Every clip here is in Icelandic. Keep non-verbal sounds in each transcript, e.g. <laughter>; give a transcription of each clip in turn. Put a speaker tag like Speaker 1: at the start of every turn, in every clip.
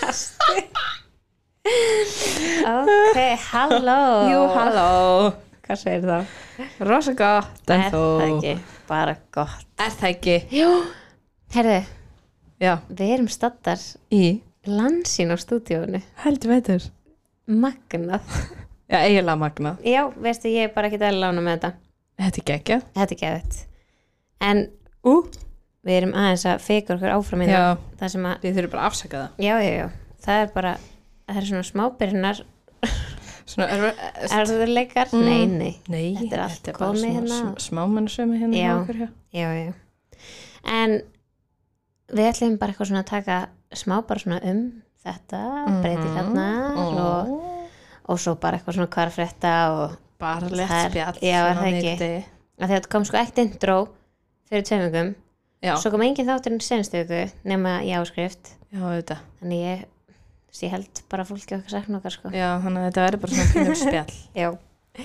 Speaker 1: gesti ok, halló
Speaker 2: Jú, halló
Speaker 1: hvað segir það?
Speaker 2: Rosa gott en
Speaker 1: er
Speaker 2: þó
Speaker 1: það ekki, bara gott
Speaker 2: Er það ekki?
Speaker 1: Jú, herðu,
Speaker 2: Já
Speaker 1: við erum staddar
Speaker 2: Í
Speaker 1: landsín á stúdíónu
Speaker 2: Heldur veitur
Speaker 1: magnað
Speaker 2: Já, eiginlega magna
Speaker 1: já, veistu, ég er bara ekki að lána með þetta
Speaker 2: Þetta er gekkja
Speaker 1: þetta er gefitt en
Speaker 2: Ú
Speaker 1: við erum aðeins að fika okkur áfram í
Speaker 2: Já.
Speaker 1: það það sem að,
Speaker 2: Við þurfum bara að afsaka það
Speaker 1: já, já, já það er bara, það er svona smábyrnar
Speaker 2: Svona er,
Speaker 1: erðuleikar,
Speaker 2: Mm.
Speaker 1: nei, nei
Speaker 2: Nei
Speaker 1: Þetta er allt
Speaker 2: bara
Speaker 1: komið
Speaker 2: svona
Speaker 1: hérna.
Speaker 2: sm- Smámennusemi hérna
Speaker 1: Já.
Speaker 2: hjá okkur, já.
Speaker 1: já, já en við ætlum bara eitthvað svona að taka smá bara svona um þetta
Speaker 2: Mhm.
Speaker 1: mm hérna og, og svo bara eitthvað svona hvar frétta og
Speaker 2: Bara lett
Speaker 1: Það er-
Speaker 2: spjall
Speaker 1: já, er
Speaker 2: svona
Speaker 1: það ekki?
Speaker 2: miðdegi.
Speaker 1: að því að þetta kom sko eitt intro fyrir tveimugum,
Speaker 2: Já,
Speaker 1: svo kom engin þátturinn senstugu nema í áskrift
Speaker 2: já, þetta
Speaker 1: þannig ég, þess ég held bara fólki okkar sakna okkar sko
Speaker 2: Já, þannig að þetta verður bara svona pínum
Speaker 1: <laughs>
Speaker 2: spjall
Speaker 1: já,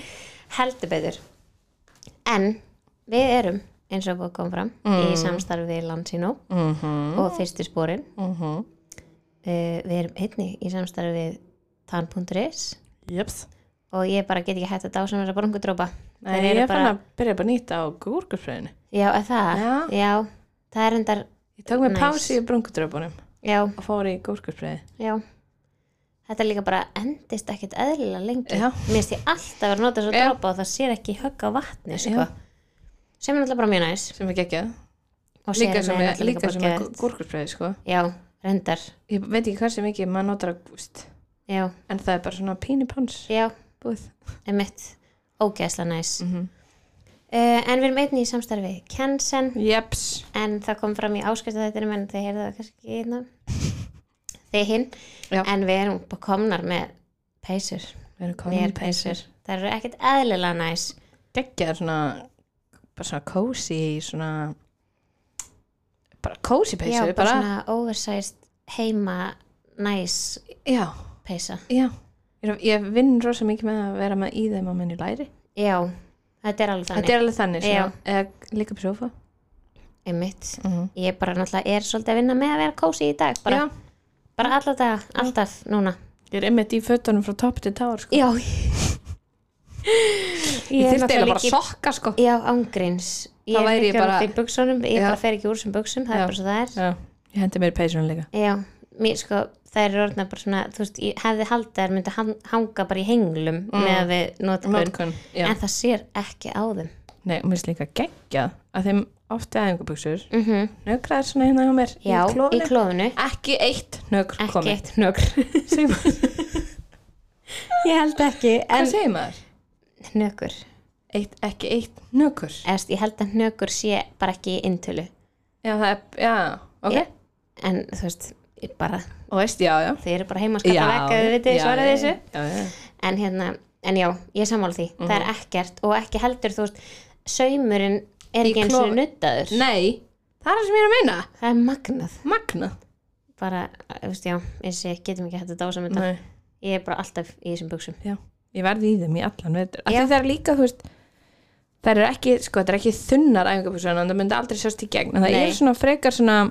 Speaker 1: heldur betur en við erum eins og búið kom fram í samstarfi við Landsino
Speaker 2: Mhm,
Speaker 1: og fyrstu spórin
Speaker 2: mhm
Speaker 1: uh, við erum einnig í samstarfi við tan.is
Speaker 2: Jöps
Speaker 1: og ég bara get ekki hægt að dása með þessa brongodrópa
Speaker 2: Nei, ég er fann að byrja bara nýtt á gúrkurfröðinu
Speaker 1: já, er það?
Speaker 2: Já.
Speaker 1: það er endar
Speaker 2: Ég tók mér
Speaker 1: Nice.
Speaker 2: pási í brungudröfunum
Speaker 1: já,
Speaker 2: og fór í gúrkurfröði
Speaker 1: já þetta er líka bara endist ekkit eðlilega lengi
Speaker 2: Já.
Speaker 1: mér finnst ég alltaf að nota svo
Speaker 2: Já.
Speaker 1: drópa og það sér ekki högg á vatni sko.
Speaker 2: Já.
Speaker 1: sem er náttúrulega bara mjög næs
Speaker 2: sem er geggjað
Speaker 1: og
Speaker 2: líka
Speaker 1: sérin
Speaker 2: sem
Speaker 1: er
Speaker 2: er,
Speaker 1: náttúrulega
Speaker 2: líka
Speaker 1: bara
Speaker 2: sem er
Speaker 1: geðveikt.
Speaker 2: gúrkurfræði sko.
Speaker 1: já, reyndar
Speaker 2: ég veit ekki hversu mikið maður notar að gúst
Speaker 1: já,
Speaker 2: en það er bara svona pínu pans
Speaker 1: já,
Speaker 2: búið
Speaker 1: emitt ógæsla næs
Speaker 2: mm -hmm.
Speaker 1: uh, en við erum einnig í samstarfi við Kensen
Speaker 2: jeps
Speaker 1: en það kom fram í áskrift að þetta er menn þið heyrðu það kannski ekki
Speaker 2: <laughs>
Speaker 1: hérna þið hinn,
Speaker 2: Já.
Speaker 1: en við erum bara komnar með peysur,
Speaker 2: við erum komin
Speaker 1: mér
Speaker 2: í
Speaker 1: peysur
Speaker 2: peysur
Speaker 1: það eru ekkert eðlilega næs
Speaker 2: geggjað svona bara svona cozy svona bara cozy peysur
Speaker 1: já, bara
Speaker 2: bara,
Speaker 1: svona oversized heima næs
Speaker 2: já,
Speaker 1: peysa
Speaker 2: já Ég- ég vinn rosa mikið með að vera með í þeim á minni læri
Speaker 1: já, þetta er alveg
Speaker 2: þetta
Speaker 1: þannig
Speaker 2: er alveg þannig
Speaker 1: Já.
Speaker 2: svona, eða líka upp í sofa
Speaker 1: einmitt,
Speaker 2: mm -hmm.
Speaker 1: ég bara náttúrulega er svolítið að vinna með að vera kósi í dag bara, bara alla daga, alltaf núna
Speaker 2: ég er einmitt í fötunum frá topp til tár sko.
Speaker 1: <laughs> já
Speaker 2: ég, ég þurfti
Speaker 1: náttúrulega
Speaker 2: eiginlega bara
Speaker 1: líka í
Speaker 2: að sokka sko.
Speaker 1: Já, ángríns Ég
Speaker 2: Þá
Speaker 1: er
Speaker 2: væri ég
Speaker 1: ekki
Speaker 2: bara-
Speaker 1: alveg í buksunum Ég
Speaker 2: Já.
Speaker 1: bara fer ekki úr sem buksum, það
Speaker 2: Já.
Speaker 1: er bara svo það er
Speaker 2: Já, ég hendi mér í peysunum líka
Speaker 1: Já, mér sko, það er orðna bara svona, þú veist, ég hefði haldið að þær myndi han- hanga bara í henglum með að við notkun,
Speaker 2: Mm. Notkun, já.
Speaker 1: en það sér ekki á þeim.
Speaker 2: Nei, og mér finnst líka geggjað að þeim ofti aðingubuxur
Speaker 1: Mm -hmm.
Speaker 2: nökraðir svona hérna hjá mér
Speaker 1: Já,
Speaker 2: Mhm. í klónu.
Speaker 1: í klófinu,
Speaker 2: Ekki eitt nökr
Speaker 1: ekki
Speaker 2: komið.
Speaker 1: eitt nökur.
Speaker 2: Segðu-
Speaker 1: ég held ekki,
Speaker 2: Hvað
Speaker 1: en
Speaker 2: segir maður?
Speaker 1: nökur.
Speaker 2: Eitt, ekki eitt nökur.
Speaker 1: Eðst, ég held að nökur sé bara ekki í intölu,
Speaker 2: Já, það er, já, ok.
Speaker 1: Já. en þú veist, ég bara,
Speaker 2: Og veist, já, já.
Speaker 1: þið eru bara heima að
Speaker 2: Já,
Speaker 1: skapa vekka, við vitið,
Speaker 2: já,
Speaker 1: svaraði
Speaker 2: já,
Speaker 1: þessu.
Speaker 2: Já, já.
Speaker 1: en hérna, en já, ég sammála því það
Speaker 2: Mhm.
Speaker 1: er ekkert og ekki heldur þú veist, saumurinn er
Speaker 2: Í
Speaker 1: ekki eins og
Speaker 2: klofa-
Speaker 1: nuttaður,
Speaker 2: Nei, það er það sem ég er að meina.
Speaker 1: það er magnað
Speaker 2: Magna.
Speaker 1: bara, þú veist, já, eins og ég getum ekki hægt að dása með þetta,
Speaker 2: Nei,
Speaker 1: ég er bara alltaf í þessum buksum,
Speaker 2: já. Ég verði í þeim í allan veitur.
Speaker 1: Já.
Speaker 2: Það er líka, þú veist, það er ekki, sko, það er ekki þunnar æfingabuxur en það myndi aldrei sjást í gegn. En það
Speaker 1: Nei.
Speaker 2: er svona frekar svona,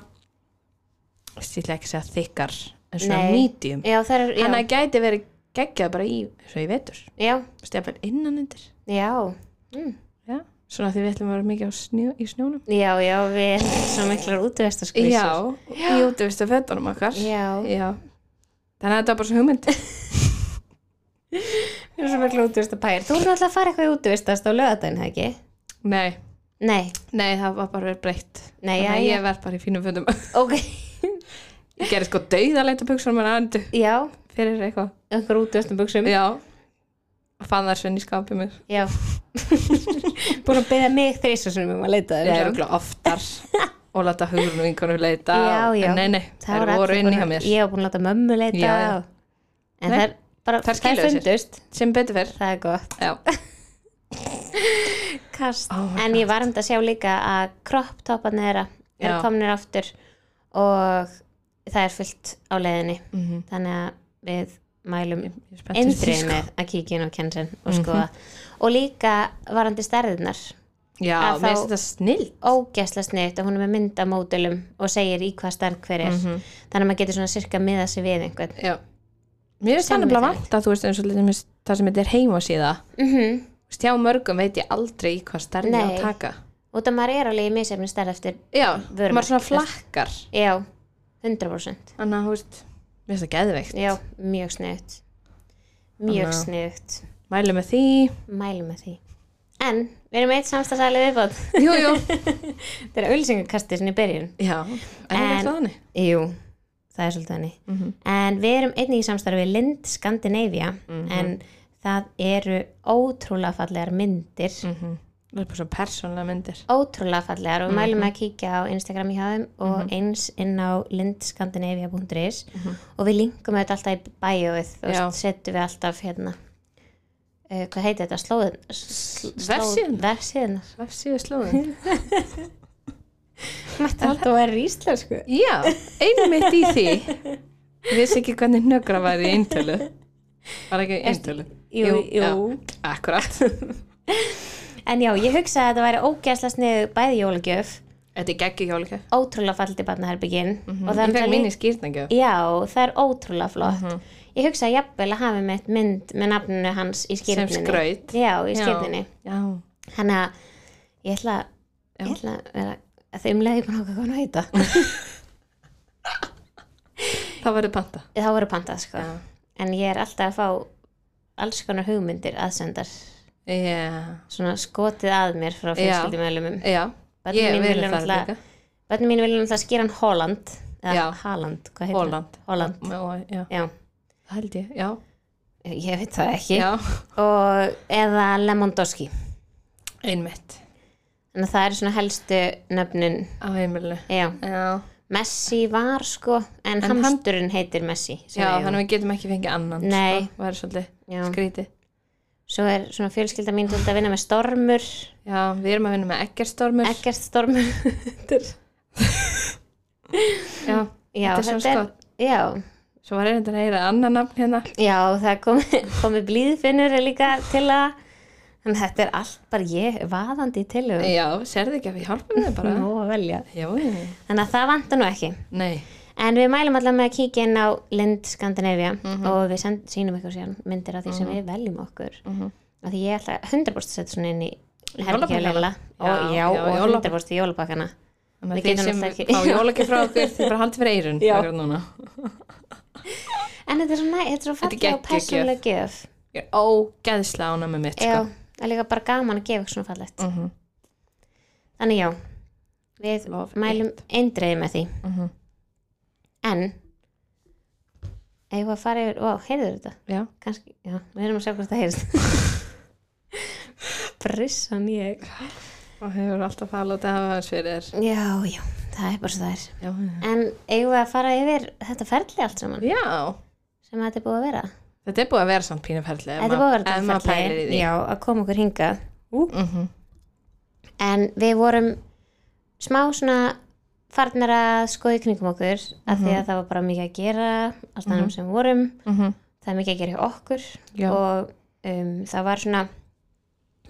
Speaker 2: þú veist, ég ætla ekki að segja þykkar, en svona
Speaker 1: Nei.
Speaker 2: medium.
Speaker 1: já, það er já,
Speaker 2: Þannig að gæti verið geggjað bara í svo ég vetur,
Speaker 1: já,
Speaker 2: stefnir innan undir
Speaker 1: já
Speaker 2: já. svona því við ætlum að vera mikið á snjó, í snjónum
Speaker 1: já, já, við erum svo miklar útvestaskvísur
Speaker 2: já, í útivistu fötunum okkar
Speaker 1: Já.
Speaker 2: þannig að þetta var bara svo hugmynd
Speaker 1: <laughs> við erum svo miklar útvestapæjar þú erum alltaf að fara eitthvað í útvestast á lögadaginn, það ekki?
Speaker 2: nei,
Speaker 1: Nei,
Speaker 2: nei, það var bara verið breytt
Speaker 1: Nei,
Speaker 2: þannig
Speaker 1: já,
Speaker 2: að
Speaker 1: já.
Speaker 2: ég verð bara í fínum fötum <laughs>
Speaker 1: ok,
Speaker 2: ég gerði sko dauðarleita buksum en aðendu
Speaker 1: já
Speaker 2: fyrir eitthvað
Speaker 1: einhver útvestum buksum,
Speaker 2: já, og fann þær svinn í skapið mér
Speaker 1: já <laughs> búin að beða mig þrísasunum um að leita
Speaker 2: það
Speaker 1: þeim
Speaker 2: eru glá oftar <laughs> og láta hugurinn vinkunum leita
Speaker 1: Já,
Speaker 2: og-
Speaker 1: já.
Speaker 2: en nei, nei,
Speaker 1: Það
Speaker 2: þær voru
Speaker 1: allir
Speaker 2: inn í
Speaker 1: bara-
Speaker 2: hjá mér
Speaker 1: Ég var búin að láta mömmu leita
Speaker 2: Já, já.
Speaker 1: En
Speaker 2: Nei.
Speaker 1: það er bara,
Speaker 2: Þær
Speaker 1: það
Speaker 2: skiluðu sér.
Speaker 1: fundust
Speaker 2: sem betur fer
Speaker 1: Það er gott
Speaker 2: <laughs> já
Speaker 1: Kast
Speaker 2: Oh my
Speaker 1: En ég var um þetta að sjá líka að crop topan þeirra eru
Speaker 2: Já.
Speaker 1: komnir aftur og það er fullt á leiðinni
Speaker 2: mm
Speaker 1: Þannig að við mælum
Speaker 2: Ég er spennt fyrir því,
Speaker 1: eindrið
Speaker 2: sko.
Speaker 1: Mhm. með að kíkja inn á kensin og skoða og líka varandi stærðirnar
Speaker 2: já,
Speaker 1: Að
Speaker 2: mér
Speaker 1: þá-
Speaker 2: finnst þetta snill
Speaker 1: ógæsla sniðt að hún er með myndamódulum og segir í hvað stærð hver er þannig að maður getur svona sirka miða sig við einhvern
Speaker 2: já. mér finnst
Speaker 1: Sem
Speaker 2: þannig að
Speaker 1: við
Speaker 2: vanta þú veist eins og lítið mér það sem þetta er heimasíða mm
Speaker 1: Mhm.
Speaker 2: -hmm. stjá mörgum veit ég aldrei í hvað stærði
Speaker 1: Nei.
Speaker 2: að taka
Speaker 1: út að maður er alveg í misjafni stærð eftir
Speaker 2: já,
Speaker 1: Vörumerki,
Speaker 2: maður svona flakkar
Speaker 1: já, 100%
Speaker 2: þannig að þú veist, mér finnst það geðveikt
Speaker 1: já, mjög sniðt mjög
Speaker 2: Þannig að-
Speaker 1: sniðt
Speaker 2: mælu með því
Speaker 1: mælum með því en, við erum með eitt samstagsælið viðbót <laughs>
Speaker 2: jú, jú.
Speaker 1: þetta er auðlýsingakastið sinni í byrjun
Speaker 2: <laughs> já, en,
Speaker 1: En-
Speaker 2: en þannig
Speaker 1: Jú, það er svolítið henni
Speaker 2: Mhm.
Speaker 1: En við erum einnig í samstarfi við Lind Skandinavia
Speaker 2: Mhm.
Speaker 1: En það eru ótrúlega fallegar myndir
Speaker 2: Mhm. það er bara svo persónlega myndir
Speaker 1: Ótrúlega fallegar og við
Speaker 2: Mhm.
Speaker 1: mælum að kíkja á Instagram í hafum Og eins inn á lindskandinavia.is
Speaker 2: Mhm.
Speaker 1: Og við linkum þetta alltaf í bæjóið Þú
Speaker 2: Já.
Speaker 1: veist, setjum við alltaf hérna Uh, hvað heitir þetta? Slóðin? Sl
Speaker 2: Vefsíðuna?
Speaker 1: Vefsíðunar.
Speaker 2: vefsíðu slóðin
Speaker 1: Mætti alltaf að vera í íslensku.
Speaker 2: <laughs> já, einmitt í því ég vissi ekki hvernig nögra var í eintölu var ekki í eintölu
Speaker 1: Jú, jú.
Speaker 2: Já, akkurat
Speaker 1: En já, ég hugsaði að þetta væri ógæsla snið bæði jólagjöf
Speaker 2: þetta er geggi hjólika
Speaker 1: ótrúlega fallit í barnaherbyggin og það
Speaker 2: Mhm. ég
Speaker 1: er
Speaker 2: fekk Mhm.
Speaker 1: líka,
Speaker 2: mín í skýrningjöf
Speaker 1: já, það er ótrúlega flott ég hugsa að jafnvel að hafa með mynd með nafninu hans í
Speaker 2: sem
Speaker 1: skýrninni
Speaker 2: skraut
Speaker 1: já, í skýrninni
Speaker 2: já,
Speaker 1: hann að ég ætla, ég
Speaker 2: Já.
Speaker 1: ætla að vera að þau umlega ég búin að hvað hann heita
Speaker 2: það verður panta
Speaker 1: þá voru pantað sko
Speaker 2: Já.
Speaker 1: en ég er alltaf að fá alls konar hugmyndir aðsendar
Speaker 2: já,
Speaker 1: svona skotið að mér frá
Speaker 2: Já.
Speaker 1: fjölskyldumælumum
Speaker 2: já
Speaker 1: Börnin
Speaker 2: ég
Speaker 1: mín
Speaker 2: verður
Speaker 1: vilja
Speaker 2: það
Speaker 1: náttúrulega-
Speaker 2: líka
Speaker 1: bönni mín vilja náttúrulega skýra hann Holland
Speaker 2: Já.
Speaker 1: eða Haaland, hvað heitir hann?
Speaker 2: Holland
Speaker 1: Holland,
Speaker 2: Já, já,
Speaker 1: já,
Speaker 2: það held ég, já,
Speaker 1: ég veit það ekki
Speaker 2: já.
Speaker 1: og eða Lemondoski
Speaker 2: einmitt
Speaker 1: þannig að það eru svona helstu nöfnin
Speaker 2: á heimilinu
Speaker 1: já,
Speaker 2: já,
Speaker 1: Messi var sko en,
Speaker 2: hann-
Speaker 1: hamsturinn heitir Messi sem
Speaker 2: já
Speaker 1: er-
Speaker 2: þannig að við getum ekki fengið annan
Speaker 1: Nei.
Speaker 2: sko, væri svolítið
Speaker 1: já.
Speaker 2: skrítið
Speaker 1: svo er svona fjölskylda mín svolítið að vinna með stormur
Speaker 2: já, við erum að vinna með eggerstormur
Speaker 1: ekkert stormur <laughs> þetta er-
Speaker 2: já,
Speaker 1: já,
Speaker 2: þetta er svona
Speaker 1: þetta er,
Speaker 2: skott
Speaker 1: já,
Speaker 2: svo var einhvern veginn að heyra annan nafn hérna
Speaker 1: já, það komi, <laughs> komi blíðfinnur líka til að þannig að þetta er allt bara ég vaðandi í tilögum
Speaker 2: já, sérðu ekki að við hjálpum þeim bara
Speaker 1: Nóg að velja.
Speaker 2: já, já.
Speaker 1: þannig að það vantar nú ekki
Speaker 2: nei,
Speaker 1: En við mælum allavega með að kíkja inn á Lind Skandinavia
Speaker 2: Mhm.
Speaker 1: og við send, sýnum ykkur síðan myndir af því sem við veljum okkur. Mm
Speaker 2: Mhm.
Speaker 1: Af því ég ætla 100% að setja svona inn í
Speaker 2: Jólapakkana.
Speaker 1: herbyggjulegla og
Speaker 2: Já,
Speaker 1: já,
Speaker 2: já,
Speaker 1: og
Speaker 2: jólapakk-
Speaker 1: 100% í jólabakkana. Við
Speaker 2: þannig að
Speaker 1: getum
Speaker 2: þeir sem
Speaker 1: náttúrulega ekki- <laughs>
Speaker 2: fá jólaki frá okkur þeir bara haldið fyrir eirun
Speaker 1: Já.
Speaker 2: akkurat núna
Speaker 1: En þetta er svona, þetta er svo
Speaker 2: Þetta er
Speaker 1: fallega og
Speaker 2: geggjöð gjöf.
Speaker 1: persónlega gjöf.
Speaker 2: ég er ógeðslega ána með mitt
Speaker 1: Já,
Speaker 2: sko.
Speaker 1: það er líka bara gaman að gefa ykkur svona fallegt.
Speaker 2: Mhm.
Speaker 1: Þannig já, við
Speaker 2: Love
Speaker 1: mælum eindreiði með því.
Speaker 2: Mhm.
Speaker 1: En, eigum við að fara yfir, ó, heyrðu þetta?
Speaker 2: já,
Speaker 1: kannski, já, við erum að sjá hvort það
Speaker 2: <laughs>
Speaker 1: heyrist brissan ég
Speaker 2: og hefur alltaf falað að hafa hans fyrir þér
Speaker 1: já, já, það er bara svo það er
Speaker 2: já, já.
Speaker 1: en eigum við að fara yfir þetta ferli allt saman
Speaker 2: já,
Speaker 1: sem þetta er búið að vera
Speaker 2: þetta er búið að vera samt pínuferli
Speaker 1: þetta er búið að vera
Speaker 2: ef
Speaker 1: þetta
Speaker 2: maður pælir í
Speaker 1: ferli
Speaker 2: því
Speaker 1: já, að koma okkur hingað
Speaker 2: Mhm.
Speaker 1: en við vorum smá svona farnir að skoði kringum okkur af því að það var bara mikið að gera á staðnum sem við vorum
Speaker 2: Mhm.
Speaker 1: það er mikið að gera hjá okkur
Speaker 2: Já.
Speaker 1: og um, það var svona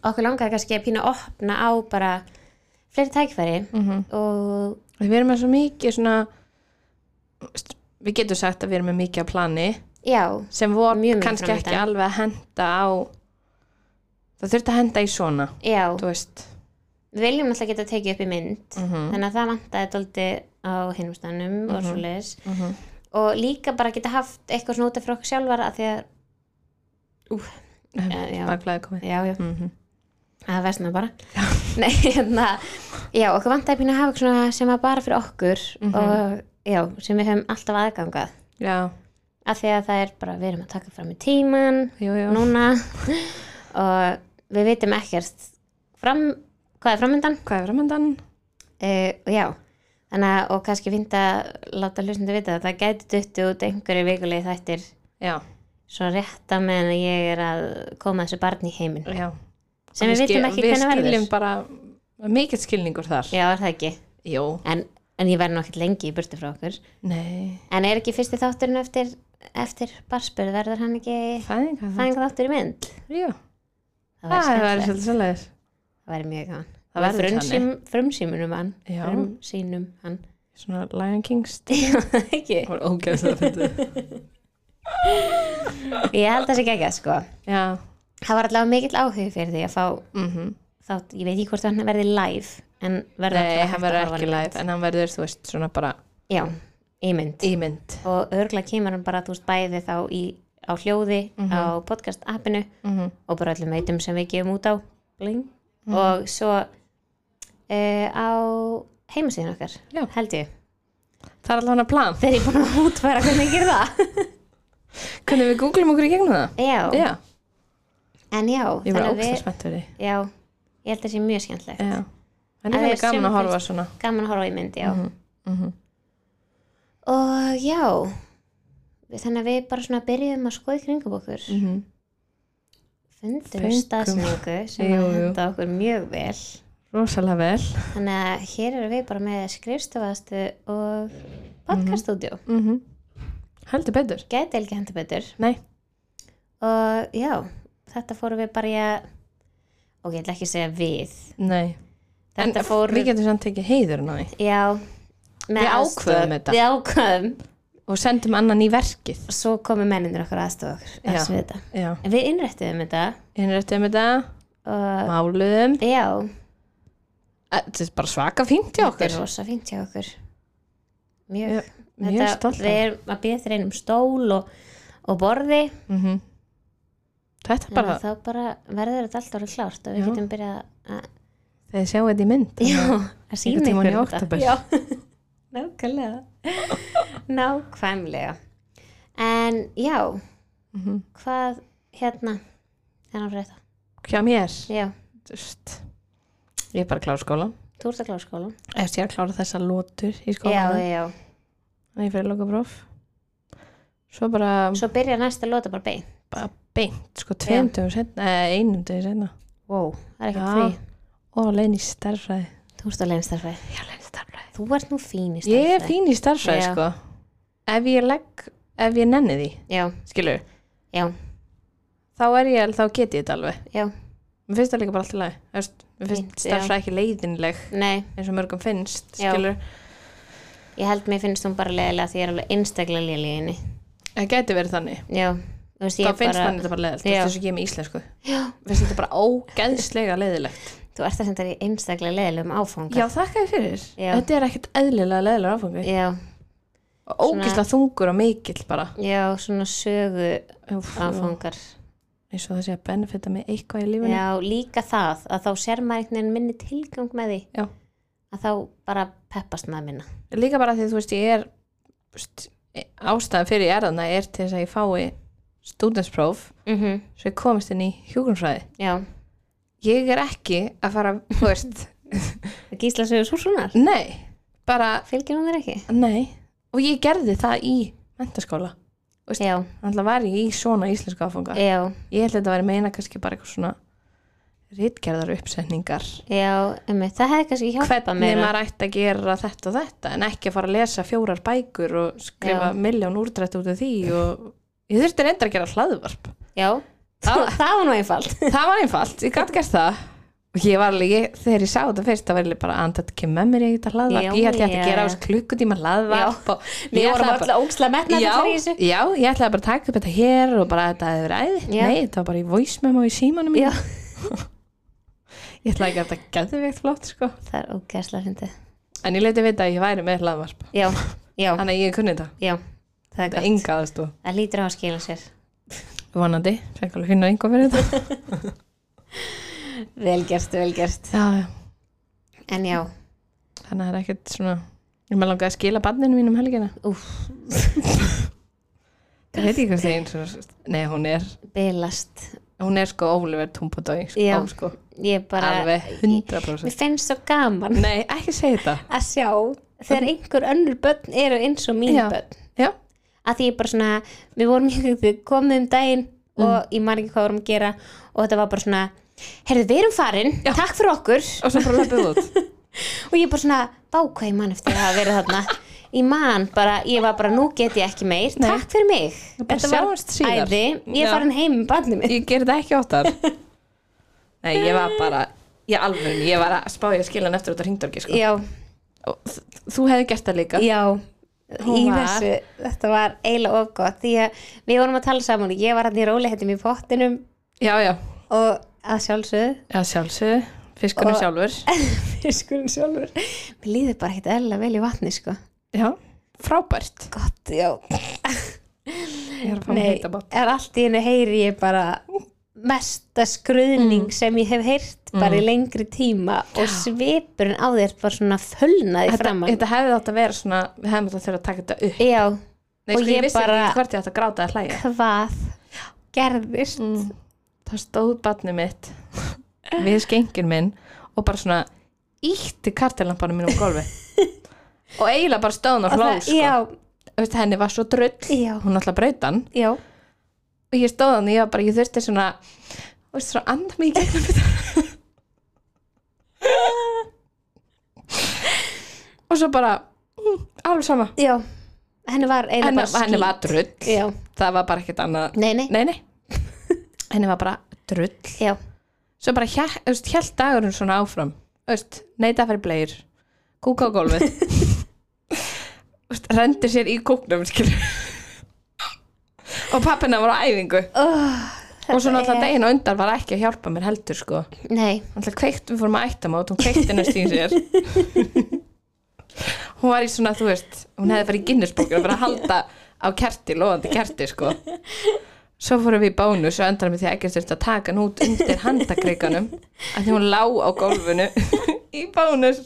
Speaker 1: okkur langaði kannski að pína að opna á bara fleiri tækifæri
Speaker 2: Mhm.
Speaker 1: og
Speaker 2: Við erum með svo mikið svona við getum sagt að við erum með mikið að plani
Speaker 1: já,
Speaker 2: sem voru
Speaker 1: Mjög mikið
Speaker 2: kannski
Speaker 1: fram
Speaker 2: ekki
Speaker 1: undan.
Speaker 2: alveg að henda á það þurfti að henda í svona
Speaker 1: já
Speaker 2: þú veist
Speaker 1: við viljum alltaf geta tekið upp í mynd þannig að það vantaði dóldi á hinum stanum og svoleiðis
Speaker 2: Mhm. Mhm.
Speaker 1: og líka bara geta haft eitthvað svona út af fyrir okkur sjálfar að því að Eh, já.
Speaker 2: að glæði komið
Speaker 1: já, já,
Speaker 2: Mhm.
Speaker 1: að versna bara <laughs> Nei, hérna, já, okkur vantaði pína að hafa eitthvað svona sem var bara fyrir okkur og já, sem við höfum alltaf aðgangað
Speaker 2: já,
Speaker 1: af því að það er bara, við erum að taka fram í tíman
Speaker 2: jú, jú.
Speaker 1: núna <laughs> og við vitum ekkert fram, hvað er framöndan
Speaker 2: hvað er framöndan?
Speaker 1: uh, já, þannig að og kannski fínt að láta hlustundu vita að það gæti duttu út einhverju vikulegi þættir
Speaker 2: já,
Speaker 1: svo rétta meðan að ég er að koma þessu barni í heiminn
Speaker 2: já
Speaker 1: sem við vitum ekki
Speaker 2: við
Speaker 1: hvernig verður
Speaker 2: skiljum bara mikill skilningur þar
Speaker 1: já, er það ekki
Speaker 2: jú,
Speaker 1: en, en ég verð nú ekkert lengi í burtu frá okkur
Speaker 2: nei,
Speaker 1: en er ekki fyrsti þátturinn eftir, eftir barspur, verður hann ekki
Speaker 2: fæðingar
Speaker 1: fæðinga þáttur í mynd
Speaker 2: jú,
Speaker 1: það
Speaker 2: það
Speaker 1: væri
Speaker 2: er
Speaker 1: skemmtilegt.
Speaker 2: svolítið svolítið
Speaker 1: það væri mjög gaman
Speaker 2: Það
Speaker 1: Með
Speaker 2: verður
Speaker 1: frumsým, frumsýmunum hann
Speaker 2: Já.
Speaker 1: frumsýnum hann <laughs>
Speaker 2: Svona Lion Kings
Speaker 1: ekki,
Speaker 2: Það var ógæðslega fyndið
Speaker 1: ég held það sé ekki sko
Speaker 2: Já
Speaker 1: það var allavega mikill áhugi fyrir því að fá
Speaker 2: mm -hmm.
Speaker 1: þátt, ég veit ekki hvort hann verði live en verður
Speaker 2: Nei,
Speaker 1: allavega
Speaker 2: hann
Speaker 1: hægt að
Speaker 2: verður
Speaker 1: horfa
Speaker 2: ekki
Speaker 1: á
Speaker 2: live En hann verður, þú veist, svona bara
Speaker 1: já, í mynd
Speaker 2: ímynd
Speaker 1: og örgulega kemur hann bara, þú veist, bæði þá í, á hljóði,
Speaker 2: Mhm.
Speaker 1: á podcast appinu
Speaker 2: mm -hmm.
Speaker 1: og bara öllum veitum sem við gefum út á bling,
Speaker 2: Mhm.
Speaker 1: og svo uh, á heimasíðan okkar,
Speaker 2: Já.
Speaker 1: held ég
Speaker 2: Það er allavega hann að plan
Speaker 1: þegar ég búin að útfæra hvernig ég ger
Speaker 2: <laughs>
Speaker 1: það
Speaker 2: Hvernig við googlum okkur í gegnum það?
Speaker 1: já,
Speaker 2: Já,
Speaker 1: en já,
Speaker 2: ég var
Speaker 1: að
Speaker 2: ógæðslega spennt fyrir því.
Speaker 1: já, ég held að það sé mjög skemmtilegt
Speaker 2: Já
Speaker 1: En
Speaker 2: En það er
Speaker 1: við
Speaker 2: gaman að
Speaker 1: sumum
Speaker 2: horfa svona
Speaker 1: gaman að horfa í mynd, já
Speaker 2: mhm.
Speaker 1: og já við- þannig að við bara svona byrjuðum að skoða í kringum okkur
Speaker 2: Mhm.
Speaker 1: fundum
Speaker 2: Fengum-
Speaker 1: staðsningu sem
Speaker 2: Jú,
Speaker 1: að
Speaker 2: jú.
Speaker 1: henda okkur mjög vel
Speaker 2: Rosalega vel
Speaker 1: þannig að hér eru við bara með skrifstofastu og podcaststudió
Speaker 2: mm Heldur betur
Speaker 1: gæti ekki hendur betur
Speaker 2: Nei,
Speaker 1: og já, þetta fórum við bara í að ok, ég ætla ekki að segja við
Speaker 2: nei
Speaker 1: þetta
Speaker 2: En
Speaker 1: fórum
Speaker 2: við getum samt tekið heiðurinn á því
Speaker 1: já,
Speaker 2: Við ákváðum þetta.
Speaker 1: við ákvöðum
Speaker 2: Og sendum annan í verkið
Speaker 1: svo komu menninir okkur aðstofa okkur
Speaker 2: Já.
Speaker 1: eftir þetta.
Speaker 2: Já
Speaker 1: En við innrættum þetta
Speaker 2: Innrættum þetta,
Speaker 1: og
Speaker 2: máluðum
Speaker 1: já,
Speaker 2: Eh, Þetta er bara svaka fínt
Speaker 1: Þetta
Speaker 2: hjá okkur
Speaker 1: er rosa fínt hjá okkur Mjög,
Speaker 2: Já, mjög
Speaker 1: Þetta-
Speaker 2: stolt af.
Speaker 1: Við erum að býða þér einum stól og, og borði
Speaker 2: mm
Speaker 1: Mhm.
Speaker 2: Þetta er
Speaker 1: bara,
Speaker 2: bara,
Speaker 1: þá bara verður þetta alltaf orðið klárt og við
Speaker 2: Já.
Speaker 1: getum byrjað að,
Speaker 2: þegar sjáu þetta í mynd
Speaker 1: já, að sína
Speaker 2: tímann í
Speaker 1: ykkur þetta.
Speaker 2: október.
Speaker 1: Já, <laughs> nákvæmlega Nákvæmlega En já,
Speaker 2: mm -hmm.
Speaker 1: hvað hérna þennan fyrir þetta
Speaker 2: Hjá mér
Speaker 1: Já,
Speaker 2: Just. Ég er bara að klára skóla
Speaker 1: þú ert að klára skóla
Speaker 2: Eftir ég er að klára þessa lotur í
Speaker 1: Já,
Speaker 2: skóla
Speaker 1: já,
Speaker 2: Þannig ég fyrir að loka próf Svo bara,
Speaker 1: svo byrja næsta lóta bara bein
Speaker 2: bara beint Sko tveim dögum setna, eh, einum dögum setna
Speaker 1: Wow, það er ekkert
Speaker 2: Já.
Speaker 1: frí
Speaker 2: Og lein í starfræði
Speaker 1: Þú ert að leinstarfæði
Speaker 2: Já, lein í starfræði
Speaker 1: Þú ert nú fín í
Speaker 2: Ég er
Speaker 1: starfræði.
Speaker 2: fín í starfræði
Speaker 1: Já.
Speaker 2: sko Ef ég legg, ef ég nenni því
Speaker 1: Já,
Speaker 2: Skilur,
Speaker 1: já,
Speaker 2: þá er ég, þá get ég þetta alveg
Speaker 1: já
Speaker 2: Mér finnst það líka bara alltaf leið Mér
Speaker 1: Fínt,
Speaker 2: finnst
Speaker 1: já.
Speaker 2: starfræði ekki leiðinleg
Speaker 1: Nei,
Speaker 2: eins og mörgum finnst
Speaker 1: Já.
Speaker 2: skilur,
Speaker 1: ég held mér finnst hún bara leðilega því ég er alveg einstaklega léleg í henni
Speaker 2: það gæti verið þannig
Speaker 1: Já, þú veist
Speaker 2: þá
Speaker 1: ég
Speaker 2: finnst bara,
Speaker 1: bara
Speaker 2: þannig þetta bara leðilegt
Speaker 1: Já.
Speaker 2: þess að ég er með íslensku já. finnst þetta bara ógeðslega leðilegt
Speaker 1: Þú ert að senda í einstaklega leðilegum áfanga
Speaker 2: já þakka þér fyrir,
Speaker 1: Já.
Speaker 2: þetta er ekkert eðlilega leðilega áfangi
Speaker 1: já,
Speaker 2: og ógeðslega þungur og mikill bara
Speaker 1: já, svona sögu
Speaker 2: Úf,
Speaker 1: áfangar
Speaker 2: eins og það sé að benefita mig eitthvað í lífinu
Speaker 1: Já, líka það að þá sér maður einhvern veginn minni tilgang með því
Speaker 2: Já.
Speaker 1: að þá bara peppast maður minna
Speaker 2: líka bara því þú veist ég er st, ástæðan fyrir ég er þarna er til þess að ég fái stúdenspróf
Speaker 1: mm -hmm.
Speaker 2: svo ég komist inn í hjúgrunfræði
Speaker 1: Já,
Speaker 2: ég er ekki að fara, þú <laughs> veist
Speaker 1: gísla sögur svo svona
Speaker 2: nei, bara
Speaker 1: Fylgir hún þér ekki?
Speaker 2: Nei, og ég gerði það í mentaskóla.
Speaker 1: Já,
Speaker 2: Þannig var ég í svona íslensku áfanga.
Speaker 1: já,
Speaker 2: Ég held að þetta væri meina kannski bara eitthvað svona rítgerðar uppsetningar.
Speaker 1: já, emmi, það hefði kannski hjálpað
Speaker 2: Hvernig
Speaker 1: mér
Speaker 2: maður ætti að gera þetta og þetta en ekki að fara að lesa fjórar bækur og skrifa
Speaker 1: Já.
Speaker 2: milljón úrdrætt út af því og ég þurfti reyndar að gera hlaðvarp.
Speaker 1: Já, það, það var nú einfalt
Speaker 2: Það var einfalt, ég gæti gert það. Og ég var alveg, ég, þegar ég sá þetta fyrst, það var ég bara andað ekki með mér í þetta hlaðvarp.
Speaker 1: Já,
Speaker 2: ég held ég ætti
Speaker 1: já,
Speaker 2: að gera á
Speaker 1: já.
Speaker 2: þessu klukkutíma hlaðvarp. og
Speaker 1: Við
Speaker 2: ég
Speaker 1: vorum
Speaker 2: ætlaði bara-
Speaker 1: öll ógsla metnaði
Speaker 2: já,
Speaker 1: í þessu
Speaker 2: já, ég ætlaði bara að taka upp þetta hér og bara að þetta hefur æði
Speaker 1: Já.
Speaker 2: Nei, þetta var bara í voice memo í símanum mínum.
Speaker 1: Já,
Speaker 2: <laughs> Ég ætlaði ekki að þetta geðveikt flott sko.
Speaker 1: það er ógæslega fyndið.
Speaker 2: En ég leiti vita að ég væri með hlaðvarp
Speaker 1: Já, já,
Speaker 2: Þannig að ég kunni þetta
Speaker 1: já, það er
Speaker 2: Þetta er
Speaker 1: gott.
Speaker 2: enga aðstoð
Speaker 1: Það lítur á að skila sér.
Speaker 2: Vonandi, fengi alveg finna enga fyrir þetta
Speaker 1: Vel gert, vel gert.
Speaker 2: já, já.
Speaker 1: En já,
Speaker 2: Þannig að það er ekkert svona Ég með langaði að skila barninu mín um helgina
Speaker 1: úf,
Speaker 2: <laughs> Það veit ég hvað það er eins og Nei, hún er,
Speaker 1: bylast.
Speaker 2: hún er sko Oliver Tumpodói sko,
Speaker 1: Já.
Speaker 2: á, sko.
Speaker 1: Ég bara,
Speaker 2: Alveg 100%
Speaker 1: mér finnst svo gaman
Speaker 2: Nei, ekki segja þetta
Speaker 1: að sjá þegar einhver önnur börn eru eins og mín
Speaker 2: Já.
Speaker 1: börn.
Speaker 2: Já,
Speaker 1: Að því ég bara svona, við vorum ekki við komum um daginn
Speaker 2: Mm.
Speaker 1: og ég man ekki hvað vorum að gera og þetta var bara svona, heyrðu, við erum farin, takk fyrir okkur.
Speaker 2: og svo bara löpuð út <laughs>
Speaker 1: og ég bara svona bákvæði mann eftir að hafa verið þarna ég man bara, ég var bara nú get ég ekki meir takk fyrir mig
Speaker 2: Bara sjáumst síðar.
Speaker 1: æði, ég
Speaker 2: Já.
Speaker 1: er farin heim með barnið mitt
Speaker 2: ég ger þetta ekki óttar Nei, ég var bara Ég alveg, ég var að spá ég að skila hann eftir út á hringdorgi sko.
Speaker 1: já,
Speaker 2: Og þ- Þú hefði gert það líka
Speaker 1: já
Speaker 2: Hún
Speaker 1: í
Speaker 2: var-
Speaker 1: þessu, þetta var eiginlega of gott því að við vorum að tala saman og ég var hann í rólihettum í pottinum
Speaker 2: Já, já,
Speaker 1: og að sjálfsögðu <laughs>
Speaker 2: já sjálfsögðu Fiskunum
Speaker 1: Og-
Speaker 2: sjálfur
Speaker 1: fiskurinn sjálfur mér líður bara ekkert eðlilega vel í vatni sko
Speaker 2: Já, frábært
Speaker 1: gott, já
Speaker 2: Ég er að fá mig
Speaker 1: Nei,
Speaker 2: heita bát
Speaker 1: er allt í hennu heyri ég bara mesta
Speaker 2: Mm.
Speaker 1: skruðning sem ég hef heyrt bara í lengri tíma og svipurinn á þér bara svona fölnaði
Speaker 2: Þetta,
Speaker 1: framann
Speaker 2: þetta hefði átt að vera svona Við hefðum þetta þurfa að taka þetta upp
Speaker 1: já,
Speaker 2: Nei,
Speaker 1: Og
Speaker 2: sko, ég,
Speaker 1: ég
Speaker 2: vissi
Speaker 1: bara-
Speaker 2: ekki hvert ég átt að gráta að hlæja
Speaker 1: hvað gerðist
Speaker 2: mm. Það stóð barnið mitt Við skengin minn Og bara svona ítti kartelampanum minn um gólfi Og eiginlega bara stóðan og hló
Speaker 1: það,
Speaker 2: sko.
Speaker 1: já,
Speaker 2: Veist, Henni var svo drull
Speaker 1: Já.
Speaker 2: Hún alltaf braut hann
Speaker 1: já
Speaker 2: og ég stóð hann og ég var bara, ég þurfti svona þú veist, svona anda mig í gegnum þetta og svo bara mm, alveg sama
Speaker 1: já, henni var eiginlega
Speaker 2: henni,
Speaker 1: bara skýt
Speaker 2: henni var drull
Speaker 1: já,
Speaker 2: það var bara ekkert annað
Speaker 1: nei, nei,
Speaker 2: nei, nei, henni var bara drull
Speaker 1: já,
Speaker 2: svo bara hér- þú veist, hélt dagurinn svona áfram Þú veist, neita fyrir bleir kúka á gólfið Þú veist, rendi sér í kúknum skilur og pappina var á æfingu
Speaker 1: oh,
Speaker 2: og svo náttúrulega
Speaker 1: er-
Speaker 2: daginn og undan var ekki að hjálpa mér heldur sko
Speaker 1: nei,
Speaker 2: náttúrulega kveikt, við fórum að ætta mát hún kveikti næst í sér hún var í svona, þú veist hún hefði farið í Guinness-bókina bara að halda á kerti, loðandi kerti sko svo fórum við í bónus og endanum því að ekkert þurfti að taka hann út undir handakreikanum að því hún lá á gólfinu í bónus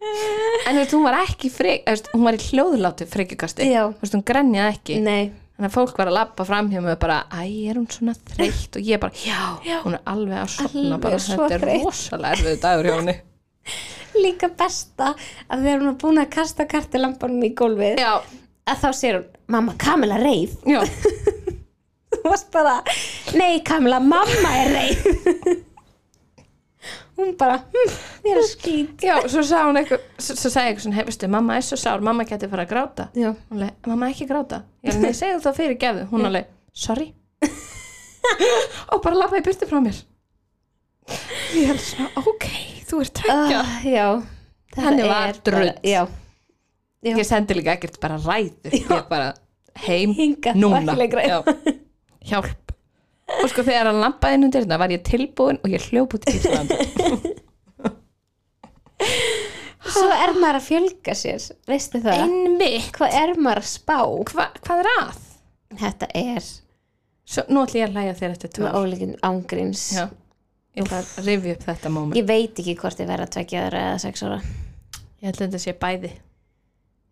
Speaker 2: en þú veist, hún var ekki frek, þú veist, hún var í hljóðlátu frekjukasti,
Speaker 1: Já.
Speaker 2: þú veist, hún grenjaði ekki
Speaker 1: nei
Speaker 2: þannig að fólk var að labba fram hjá mig og bara, æ, er hún svona þreytt og ég bara, já, hún er alveg að sopna
Speaker 1: Alveg
Speaker 2: bara,
Speaker 1: svo
Speaker 2: þetta er
Speaker 1: þreytt."
Speaker 2: rosalega erfið dagur hjá henni
Speaker 1: <laughs> líka besta að þegar hún er búin að kasta kartilampanum í gólfið
Speaker 2: já,
Speaker 1: að þá sér hún, mamma Kamila reif
Speaker 2: já,
Speaker 1: <laughs> þú varst bara, nei Kamila mamma er reif <laughs> hún bara hm, ég er að skýt
Speaker 2: já, svo sagði hún eitthvað svo, svo sagði eitthvað svona, hefstu, mamma er svo sár mamma geti fara að gráta
Speaker 1: já,
Speaker 2: hún leið, mamma ekki gráta, ég leið, nei, segðu það fyrir gefðu hún alveg, sorry og bara labba í byrti frá mér ég er svona, ok þú ert tveggja
Speaker 1: uh, já þetta
Speaker 2: Henni var
Speaker 1: er bara-
Speaker 2: drull.
Speaker 1: já, já.
Speaker 2: ég sendi líka ekkert bara ræðu ég bara heim
Speaker 1: Hingað og
Speaker 2: núna
Speaker 1: ekki lengra.
Speaker 2: Já. hjálp og sko þegar hann lampaði inn um dyrna var ég tilbúin og ég
Speaker 1: <laughs>
Speaker 2: hljóp út í Ísland
Speaker 1: svo er maður að fjölga sér veistu það,
Speaker 2: einmitt,
Speaker 1: hvað er maður að spá
Speaker 2: Hva, hvað er að?
Speaker 1: þetta er
Speaker 2: Svo, nú ætlum ég að hlæja þér eftir tvö
Speaker 1: með
Speaker 2: ár.
Speaker 1: ólíkin ángríns
Speaker 2: Já. ég ætla að rifja upp þetta moment
Speaker 1: ég veit ekki hvort ég verð að tvekja ára eða sex ára
Speaker 2: ég held að þetta sé bæði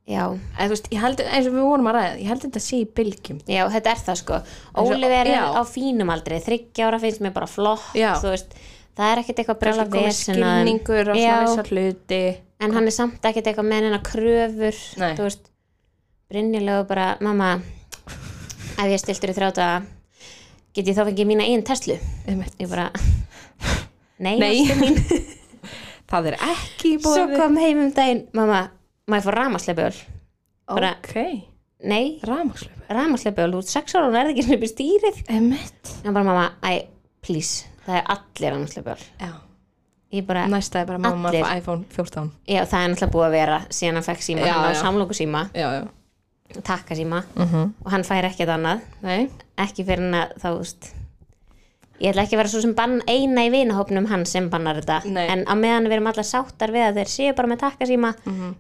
Speaker 1: já,
Speaker 2: Eð, veist, ég held, eins og við vorum að ræða, ég held að þetta sé í bylgjum
Speaker 1: já, þetta er það sko
Speaker 2: og-
Speaker 1: Oliver
Speaker 2: já.
Speaker 1: er á fínum aldrei, þryggja ára finnst mér bara flott
Speaker 2: Já.
Speaker 1: þú veist, það er ekkert eitthvað
Speaker 2: Brjóla
Speaker 1: brjóla
Speaker 2: komið
Speaker 1: vesen að þeim.
Speaker 2: skilningur og
Speaker 1: um-
Speaker 2: svona
Speaker 1: Já.
Speaker 2: þessar hluti
Speaker 1: en hann er samt ekkert eitthvað með hennar kröfur
Speaker 2: Nei.
Speaker 1: þú veist brinnilega bara, mamma ef ég stiltur í þrjáta get ég þá fengið mína einn Tesla
Speaker 2: Einmitt.
Speaker 1: ég bara <laughs> nei, ástin mín.
Speaker 2: Nei, <laughs> það er ekki í
Speaker 1: svo
Speaker 2: bóði
Speaker 1: kom heim um daginn mamma, má ég fór rámasleipöl bara-
Speaker 2: ok,
Speaker 1: nei,
Speaker 2: rámaslöfu
Speaker 1: rámasleipöl, þú ert sex ára og nærði ekki sem upp í stýrið
Speaker 2: emitt
Speaker 1: en bara mamma, æ, please það er allir rámasleipöl
Speaker 2: já
Speaker 1: ég bara,
Speaker 2: Næsta er bara mamma
Speaker 1: Allir.
Speaker 2: Allir. iPhone 14
Speaker 1: já, það er náttúrulega búið að vera síðan hann fekk síma,
Speaker 2: Já,
Speaker 1: hann
Speaker 2: já. Mhm.
Speaker 1: á samlóku síma
Speaker 2: Já, já
Speaker 1: takka síma og hann fær ekkert annað
Speaker 2: Nei,
Speaker 1: ekki fyrir en að þá þú veist ég ætla ekki að vera svo sem bann eina í vinahópnum hann sem bannar þetta
Speaker 2: Nei.
Speaker 1: en á meðan við erum allar sáttar við að þeir séu bara með takkasíma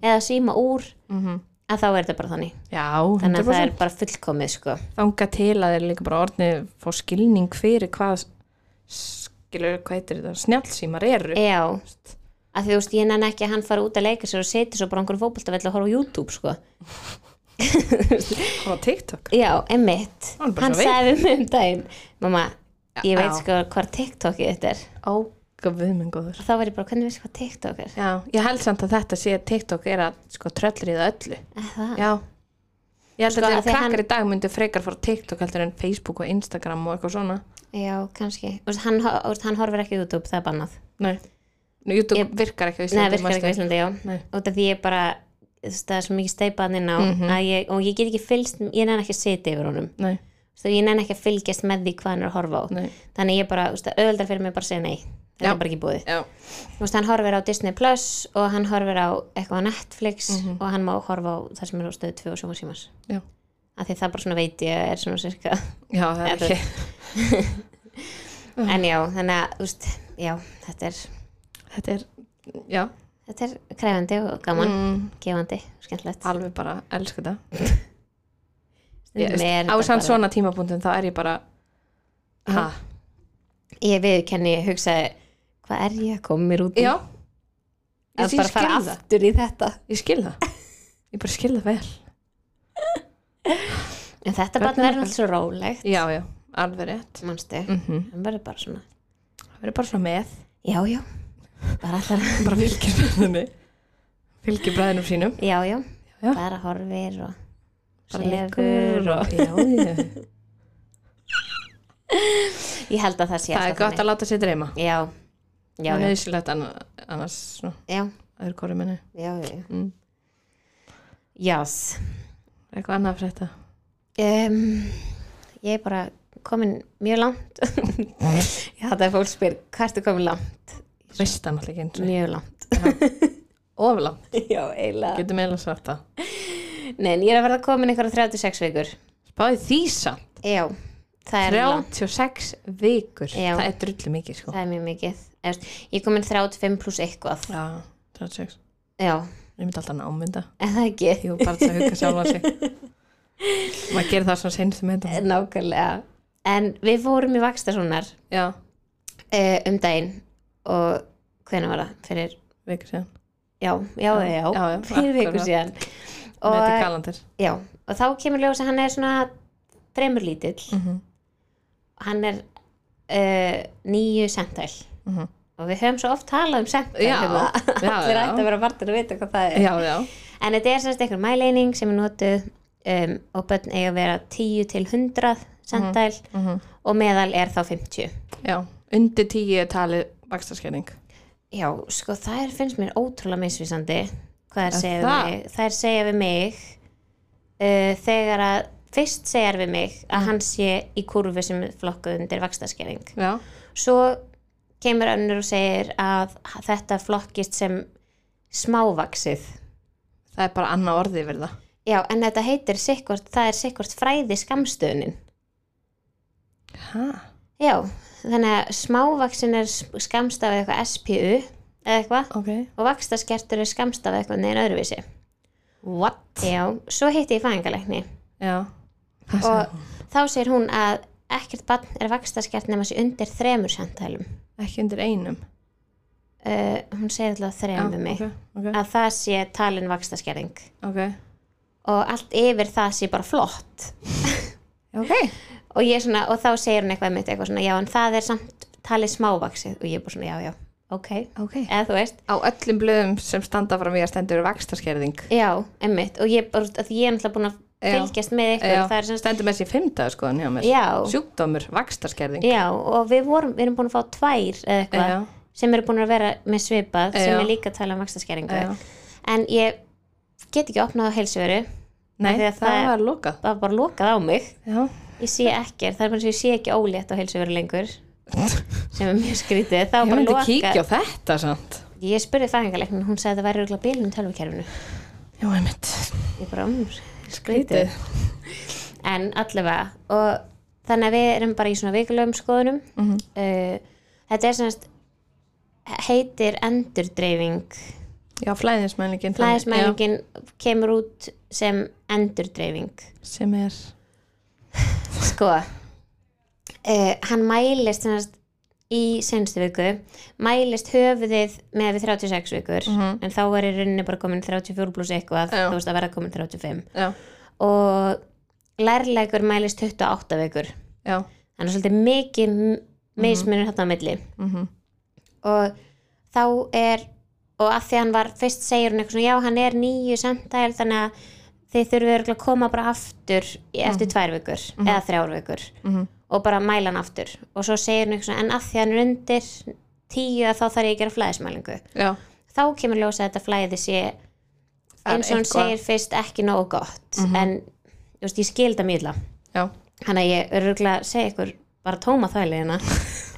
Speaker 1: eða síma úr
Speaker 2: Mhm.
Speaker 1: að þá er þetta bara þannig
Speaker 2: já,
Speaker 1: þannig að það er
Speaker 2: 100%
Speaker 1: bara fullkomið sko
Speaker 2: Þanga til að þeir líka bara orðnið fá skilning fyrir hvað skilur, hvað heitir þetta, snjálfsímar eru
Speaker 1: já, að því þú veist ég nenni ekki að hann fara út að leika sér og setja svo bara á einhverjum fótboltavell og horfa á YouTube sko
Speaker 2: og TikTok
Speaker 1: já, emmitt,
Speaker 2: Hann bara
Speaker 1: hann
Speaker 2: svo veit.
Speaker 1: sagði við mig um daginn mamma, ég veit
Speaker 2: Já.
Speaker 1: sko hvað TikTokið þetta er
Speaker 2: Ó, guð minn góður
Speaker 1: þá var ég bara, hvernig veist hvað TikTok er
Speaker 2: Já, ég held samt að þetta sé að TikTok er að sko tröllriða öllu
Speaker 1: Eh, það?
Speaker 2: Já Ég held
Speaker 1: Sko,
Speaker 2: að
Speaker 1: af
Speaker 2: þeir
Speaker 1: því
Speaker 2: krakkar í dag myndu frekar fara á TikTok heldur en Facebook og Instagram og eitthvað svona
Speaker 1: Já, kannski. Þú veist, hann, ho- þú veist, hann horfir ekki á YouTube, það er bannað.
Speaker 2: Nei, Nú, YouTube
Speaker 1: Ég-
Speaker 2: virkar ekki á
Speaker 1: Nei,
Speaker 2: Íslandi
Speaker 1: virkar ekki á
Speaker 2: manstu?
Speaker 1: Íslandi, já.
Speaker 2: Nei.
Speaker 1: Út af því ég bara, þú veist, það er svo mikið steipaðan inn á
Speaker 2: Mhm.
Speaker 1: að ég, og ég get ekki fylgst, ég nenn ekki að sitja yfir honum.
Speaker 2: Nei,
Speaker 1: Þú veist, og ég nenn ekki að fylgjast með því hvað hann er að horfa á.
Speaker 2: nei,
Speaker 1: Þannig ég bara, þú veist, það auðvitað fyrir mig bara að segja nei. þetta
Speaker 2: Já.
Speaker 1: er bara ekki búið
Speaker 2: já,
Speaker 1: þú veist, hann horfir á Disney Plus og hann horfir á eitthvað á Netflix
Speaker 2: Mhm.
Speaker 1: og hann má horfa á það sem er á stöðu 2 og sjóma símans
Speaker 2: já,
Speaker 1: af því það bara svona veit ég er svona cirka
Speaker 2: já það er
Speaker 1: Eða-
Speaker 2: ekki Mhm.
Speaker 1: en já, þannig að, þú veist, já, þetta er
Speaker 2: þetta er, já,
Speaker 1: þetta er krefandi og gaman
Speaker 2: mm,
Speaker 1: gefandi, skemmtilegt
Speaker 2: alveg bara elsku það
Speaker 1: Stundum er
Speaker 2: á
Speaker 1: þetta
Speaker 2: sann
Speaker 1: bara-
Speaker 2: svona tímabúndum þá er ég bara ha,
Speaker 1: ég viðkenni, ég hugsaði hvað er ég að koma mér út í
Speaker 2: já
Speaker 1: að
Speaker 2: ég, ég
Speaker 1: bara fara
Speaker 2: skil það,
Speaker 1: aftur í þetta
Speaker 2: ég skil það ég bara skil það vel
Speaker 1: en þetta
Speaker 2: Börnin
Speaker 1: bara verður
Speaker 2: okkar.
Speaker 1: alltaf svo rólegt
Speaker 2: já, já, alveg rétt
Speaker 1: mannstu,
Speaker 2: mm
Speaker 1: hann verður bara svona
Speaker 2: það verður bara svona með
Speaker 1: já, já, bara allar
Speaker 2: bara fylgir bræðinni fylgir bræðinum sínum
Speaker 1: já, já,
Speaker 2: Já.
Speaker 1: bara horfir og
Speaker 2: Bara
Speaker 1: sefur
Speaker 2: liggur og-
Speaker 1: já, já. ég held að það sé
Speaker 2: <laughs> það er
Speaker 1: alltaf
Speaker 2: gott að láta sér dreyma
Speaker 1: þannig. já, já,
Speaker 2: það er
Speaker 1: já,
Speaker 2: nöðsilegt annars svona,
Speaker 1: já,
Speaker 2: öðru kóri minni
Speaker 1: já, já.
Speaker 2: Mm.
Speaker 1: jás
Speaker 2: eitthvað annað fyrir þetta
Speaker 1: um, ég er bara komin mjög <laughs> langt ég hætti að fólk spyr hvað ertu komin langt,
Speaker 2: veist það náttúrulega ekki eins og
Speaker 1: mjög langt
Speaker 2: ofla,
Speaker 1: <laughs> já, eiginlega
Speaker 2: getum eiginlega sagt það
Speaker 1: Nei, en ég er að verða komin einhverja 36 vikur
Speaker 2: spáði þýsa
Speaker 1: Já, það er, langt,
Speaker 2: 36 vikur
Speaker 1: Já.
Speaker 2: það er drullu mikið sko
Speaker 1: það er mjög mikið Efst, Ég er komin 35 pluss eitthvað
Speaker 2: já, 36,
Speaker 1: Já,
Speaker 2: ég myndi alltaf námynda
Speaker 1: en það ekki
Speaker 2: ég var bara til að hugga sjálfa sig
Speaker 1: <laughs>
Speaker 2: maður gerir það svona um senstu með þetta
Speaker 1: Nákvæmlega En við fórum í Vakstasónar
Speaker 2: já,
Speaker 1: uh, um daginn og hvenær var það? Fyrir,
Speaker 2: vikur síðan
Speaker 1: já, já, já, já,
Speaker 2: Já, já,
Speaker 1: fyrir viku
Speaker 2: akkurat.
Speaker 1: síðan
Speaker 2: með þetta
Speaker 1: og,
Speaker 2: galandir
Speaker 1: já, og þá kemur ljós að hann er svona fremur lítill
Speaker 2: mm -hmm.
Speaker 1: hann er uh, nýju sentæl
Speaker 2: Mhm.
Speaker 1: og við höfum svo oft talað um sentæl
Speaker 2: Já,
Speaker 1: <laughs> hérna.
Speaker 2: já,
Speaker 1: allir
Speaker 2: já.
Speaker 1: ætti að vera vartir að vita hvað það er
Speaker 2: já, já,
Speaker 1: en þetta er semst einhver mæleining sem er notuð um, og börn eiga að vera 10 til 100 sentæl
Speaker 2: mhm.
Speaker 1: og meðal er þá 50
Speaker 2: já undir 10 er talið vakstaskerning
Speaker 1: já, sko það er, finnst mér ótrúlega misvísandi hvað það
Speaker 2: Er
Speaker 1: segja
Speaker 2: það?
Speaker 1: við mig það er segja við mig uh, þegar að fyrst segja við mig að hann sé í kurvu sem er flokkuð undir vakstaskering
Speaker 2: já,
Speaker 1: svo kemur önnur og segir að þetta flokkist sem smávaksið
Speaker 2: það er bara annað orði yfir það
Speaker 1: já, en þetta heitir sikkvort, það er sikkvort fræði skamstöðunin
Speaker 2: ha,
Speaker 1: já, þannig að smávaksin er skamstafið eitthvað SPU eða eitthvað
Speaker 2: ok
Speaker 1: og vakstaskertur er skamstafið eitthvað neginn öðruvísi
Speaker 2: what?
Speaker 1: já, svo hitti ég fæðingalegni
Speaker 2: já, það
Speaker 1: og
Speaker 2: sagði hún.
Speaker 1: þá segir hún að ekkert barn er vakstaskert nema sé undir þremur sentælum
Speaker 2: ekki undir einum
Speaker 1: uh, hún segir alltaf þrem við mig
Speaker 2: ok, ok,
Speaker 1: að það sé talin vakstaskerring
Speaker 2: ok,
Speaker 1: og allt yfir það sé bara flott
Speaker 2: okay.
Speaker 1: og, ég er svona, og þá segir hún eitthvað mitt eitthvað svona, já en það er samt talið smávaksið og ég er bara svona, já já, ok
Speaker 2: okay.
Speaker 1: eða þú veist,
Speaker 2: á öllum blöðum sem standa fram í að stendur vakstaskerðing
Speaker 1: já, emmitt og ég, bara, að því ég er náttúrulega búin að
Speaker 2: Já.
Speaker 1: fylgjast með ykkur
Speaker 2: Já,
Speaker 1: og það er svona,
Speaker 2: stendur með sér fymta sko hjá mér
Speaker 1: já,
Speaker 2: sjúkdómur, vakstaskerðing
Speaker 1: já og við vorum, við erum búin að fá tvær eða eitthvað,
Speaker 2: Já.
Speaker 1: sem eru búin að vera með svipað, sem
Speaker 2: Já.
Speaker 1: er líka að tala um vakstaskerringu
Speaker 2: Já.
Speaker 1: en ég get ekki opnað á heilsuveru,
Speaker 2: nei,
Speaker 1: Af því að
Speaker 2: það,
Speaker 1: það-
Speaker 2: var lokað
Speaker 1: það var bara lokað á mig
Speaker 2: já,
Speaker 1: ég sé ekkert, það er bara eins og ég sé ekki ólétt á heilsuveru
Speaker 2: <laughs>
Speaker 1: lengur sem er mjög skrítið, það
Speaker 2: ég
Speaker 1: var bara
Speaker 2: myndi
Speaker 1: lokað
Speaker 2: kíkja á þetta samt
Speaker 1: Ég spurði fæðingarleiknin, hún sagði að það væri auðvitað bílun tölvukerfinu.
Speaker 2: já, einmitt
Speaker 1: Ég bara, um, skrítið. En allavega, og þannig að við erum bara í svona vikulegum skoðunum.
Speaker 2: Mhm.
Speaker 1: uh, þetta er semast, heitir endurdreifing.
Speaker 2: já, flæðismælingin
Speaker 1: Flæðismælingin kemur út sem endurdreifing.
Speaker 2: Já, sem er <laughs>
Speaker 1: Sko, uh, hann mælist semast í senstu viku, mælist höfuðið með við 36 vikur,
Speaker 2: Mhm.
Speaker 1: en þá er í rauninni bara komin 34 pluss eitthvað,
Speaker 2: Já.
Speaker 1: þú veist að verða komin 35.
Speaker 2: já,
Speaker 1: og lærleikur mælist 28 vikur
Speaker 2: já,
Speaker 1: þannig að svolítið mikið meismunir mm -hmm. á milli
Speaker 2: mm
Speaker 1: og þá er og að því hann var, fyrst segir hún eitthvað svona já hann er nýju samtæl þannig að þið þurfum örugglega að koma bara aftur í- eftir tvær vikur eða þrjár vikur
Speaker 2: Mhm.
Speaker 1: og bara mæla hann aftur og svo segir hún eitthvað svona en að því hann er undir tíu að þá þarf ég að gera flæðismælingu
Speaker 2: já
Speaker 1: þá kemur ljósa að þetta flæði sé
Speaker 2: Það er
Speaker 1: eins og hann
Speaker 2: eitthvað.
Speaker 1: segir fyrst ekki nógu gott en þú veist, ég skil það mjög illa
Speaker 2: já,
Speaker 1: hann að ég öruglega segi ykkur bara tóma þvæli
Speaker 2: <laughs>
Speaker 1: hérna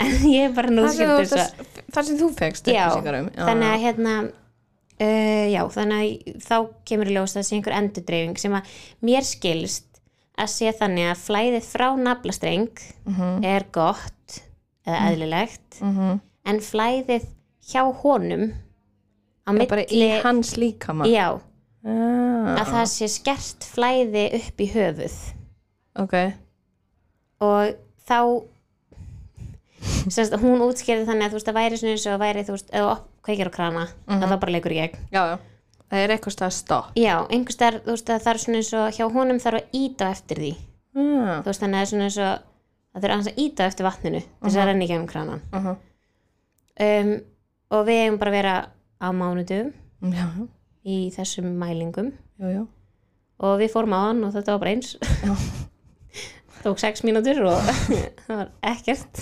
Speaker 1: en ég er bara nú
Speaker 2: Það sem, þú
Speaker 1: skildur svo
Speaker 2: ert að- það sem þú fegst
Speaker 1: já,
Speaker 2: upplýsingar um. Já.
Speaker 1: þannig að hérna uh, já, þannig að þá kemur í ljós þessi einhver endurdreifing sem að mér skilst að sé þannig að flæðið frá naflastreng er gott eða eðlilegt
Speaker 2: Mhm.
Speaker 1: en flæðið hjá honum á
Speaker 2: Það er bara í
Speaker 1: hérna milli
Speaker 2: hans líkama.
Speaker 1: já,
Speaker 2: Ah,
Speaker 1: að það sé skert flæði upp í höfuð
Speaker 2: ok,
Speaker 1: og þá semst, hún útskýrði þannig að þú veist að væri svona eins og væri þú veist eða op- kveikir á krana að það bara leikur í gegn
Speaker 2: já, já. Það er eitthvað stað stopp.
Speaker 1: já, einhvers þar, þú veist að það er svona eins og hjá honum þarf að íta á eftir því
Speaker 2: Ah,
Speaker 1: þú veist þannig að það er svona eins og það þurfa aðeins að íta á eftir vatninu til þess að renni ekki um kranan
Speaker 2: uh -huh.
Speaker 1: um, og við eigum bara að vera á mánudum
Speaker 2: Já, já,
Speaker 1: í þessum mælingum
Speaker 2: já, já.
Speaker 1: og við fórum á hann og þetta var bara eins <laughs> tók sex mínútur og <laughs> það var ekkert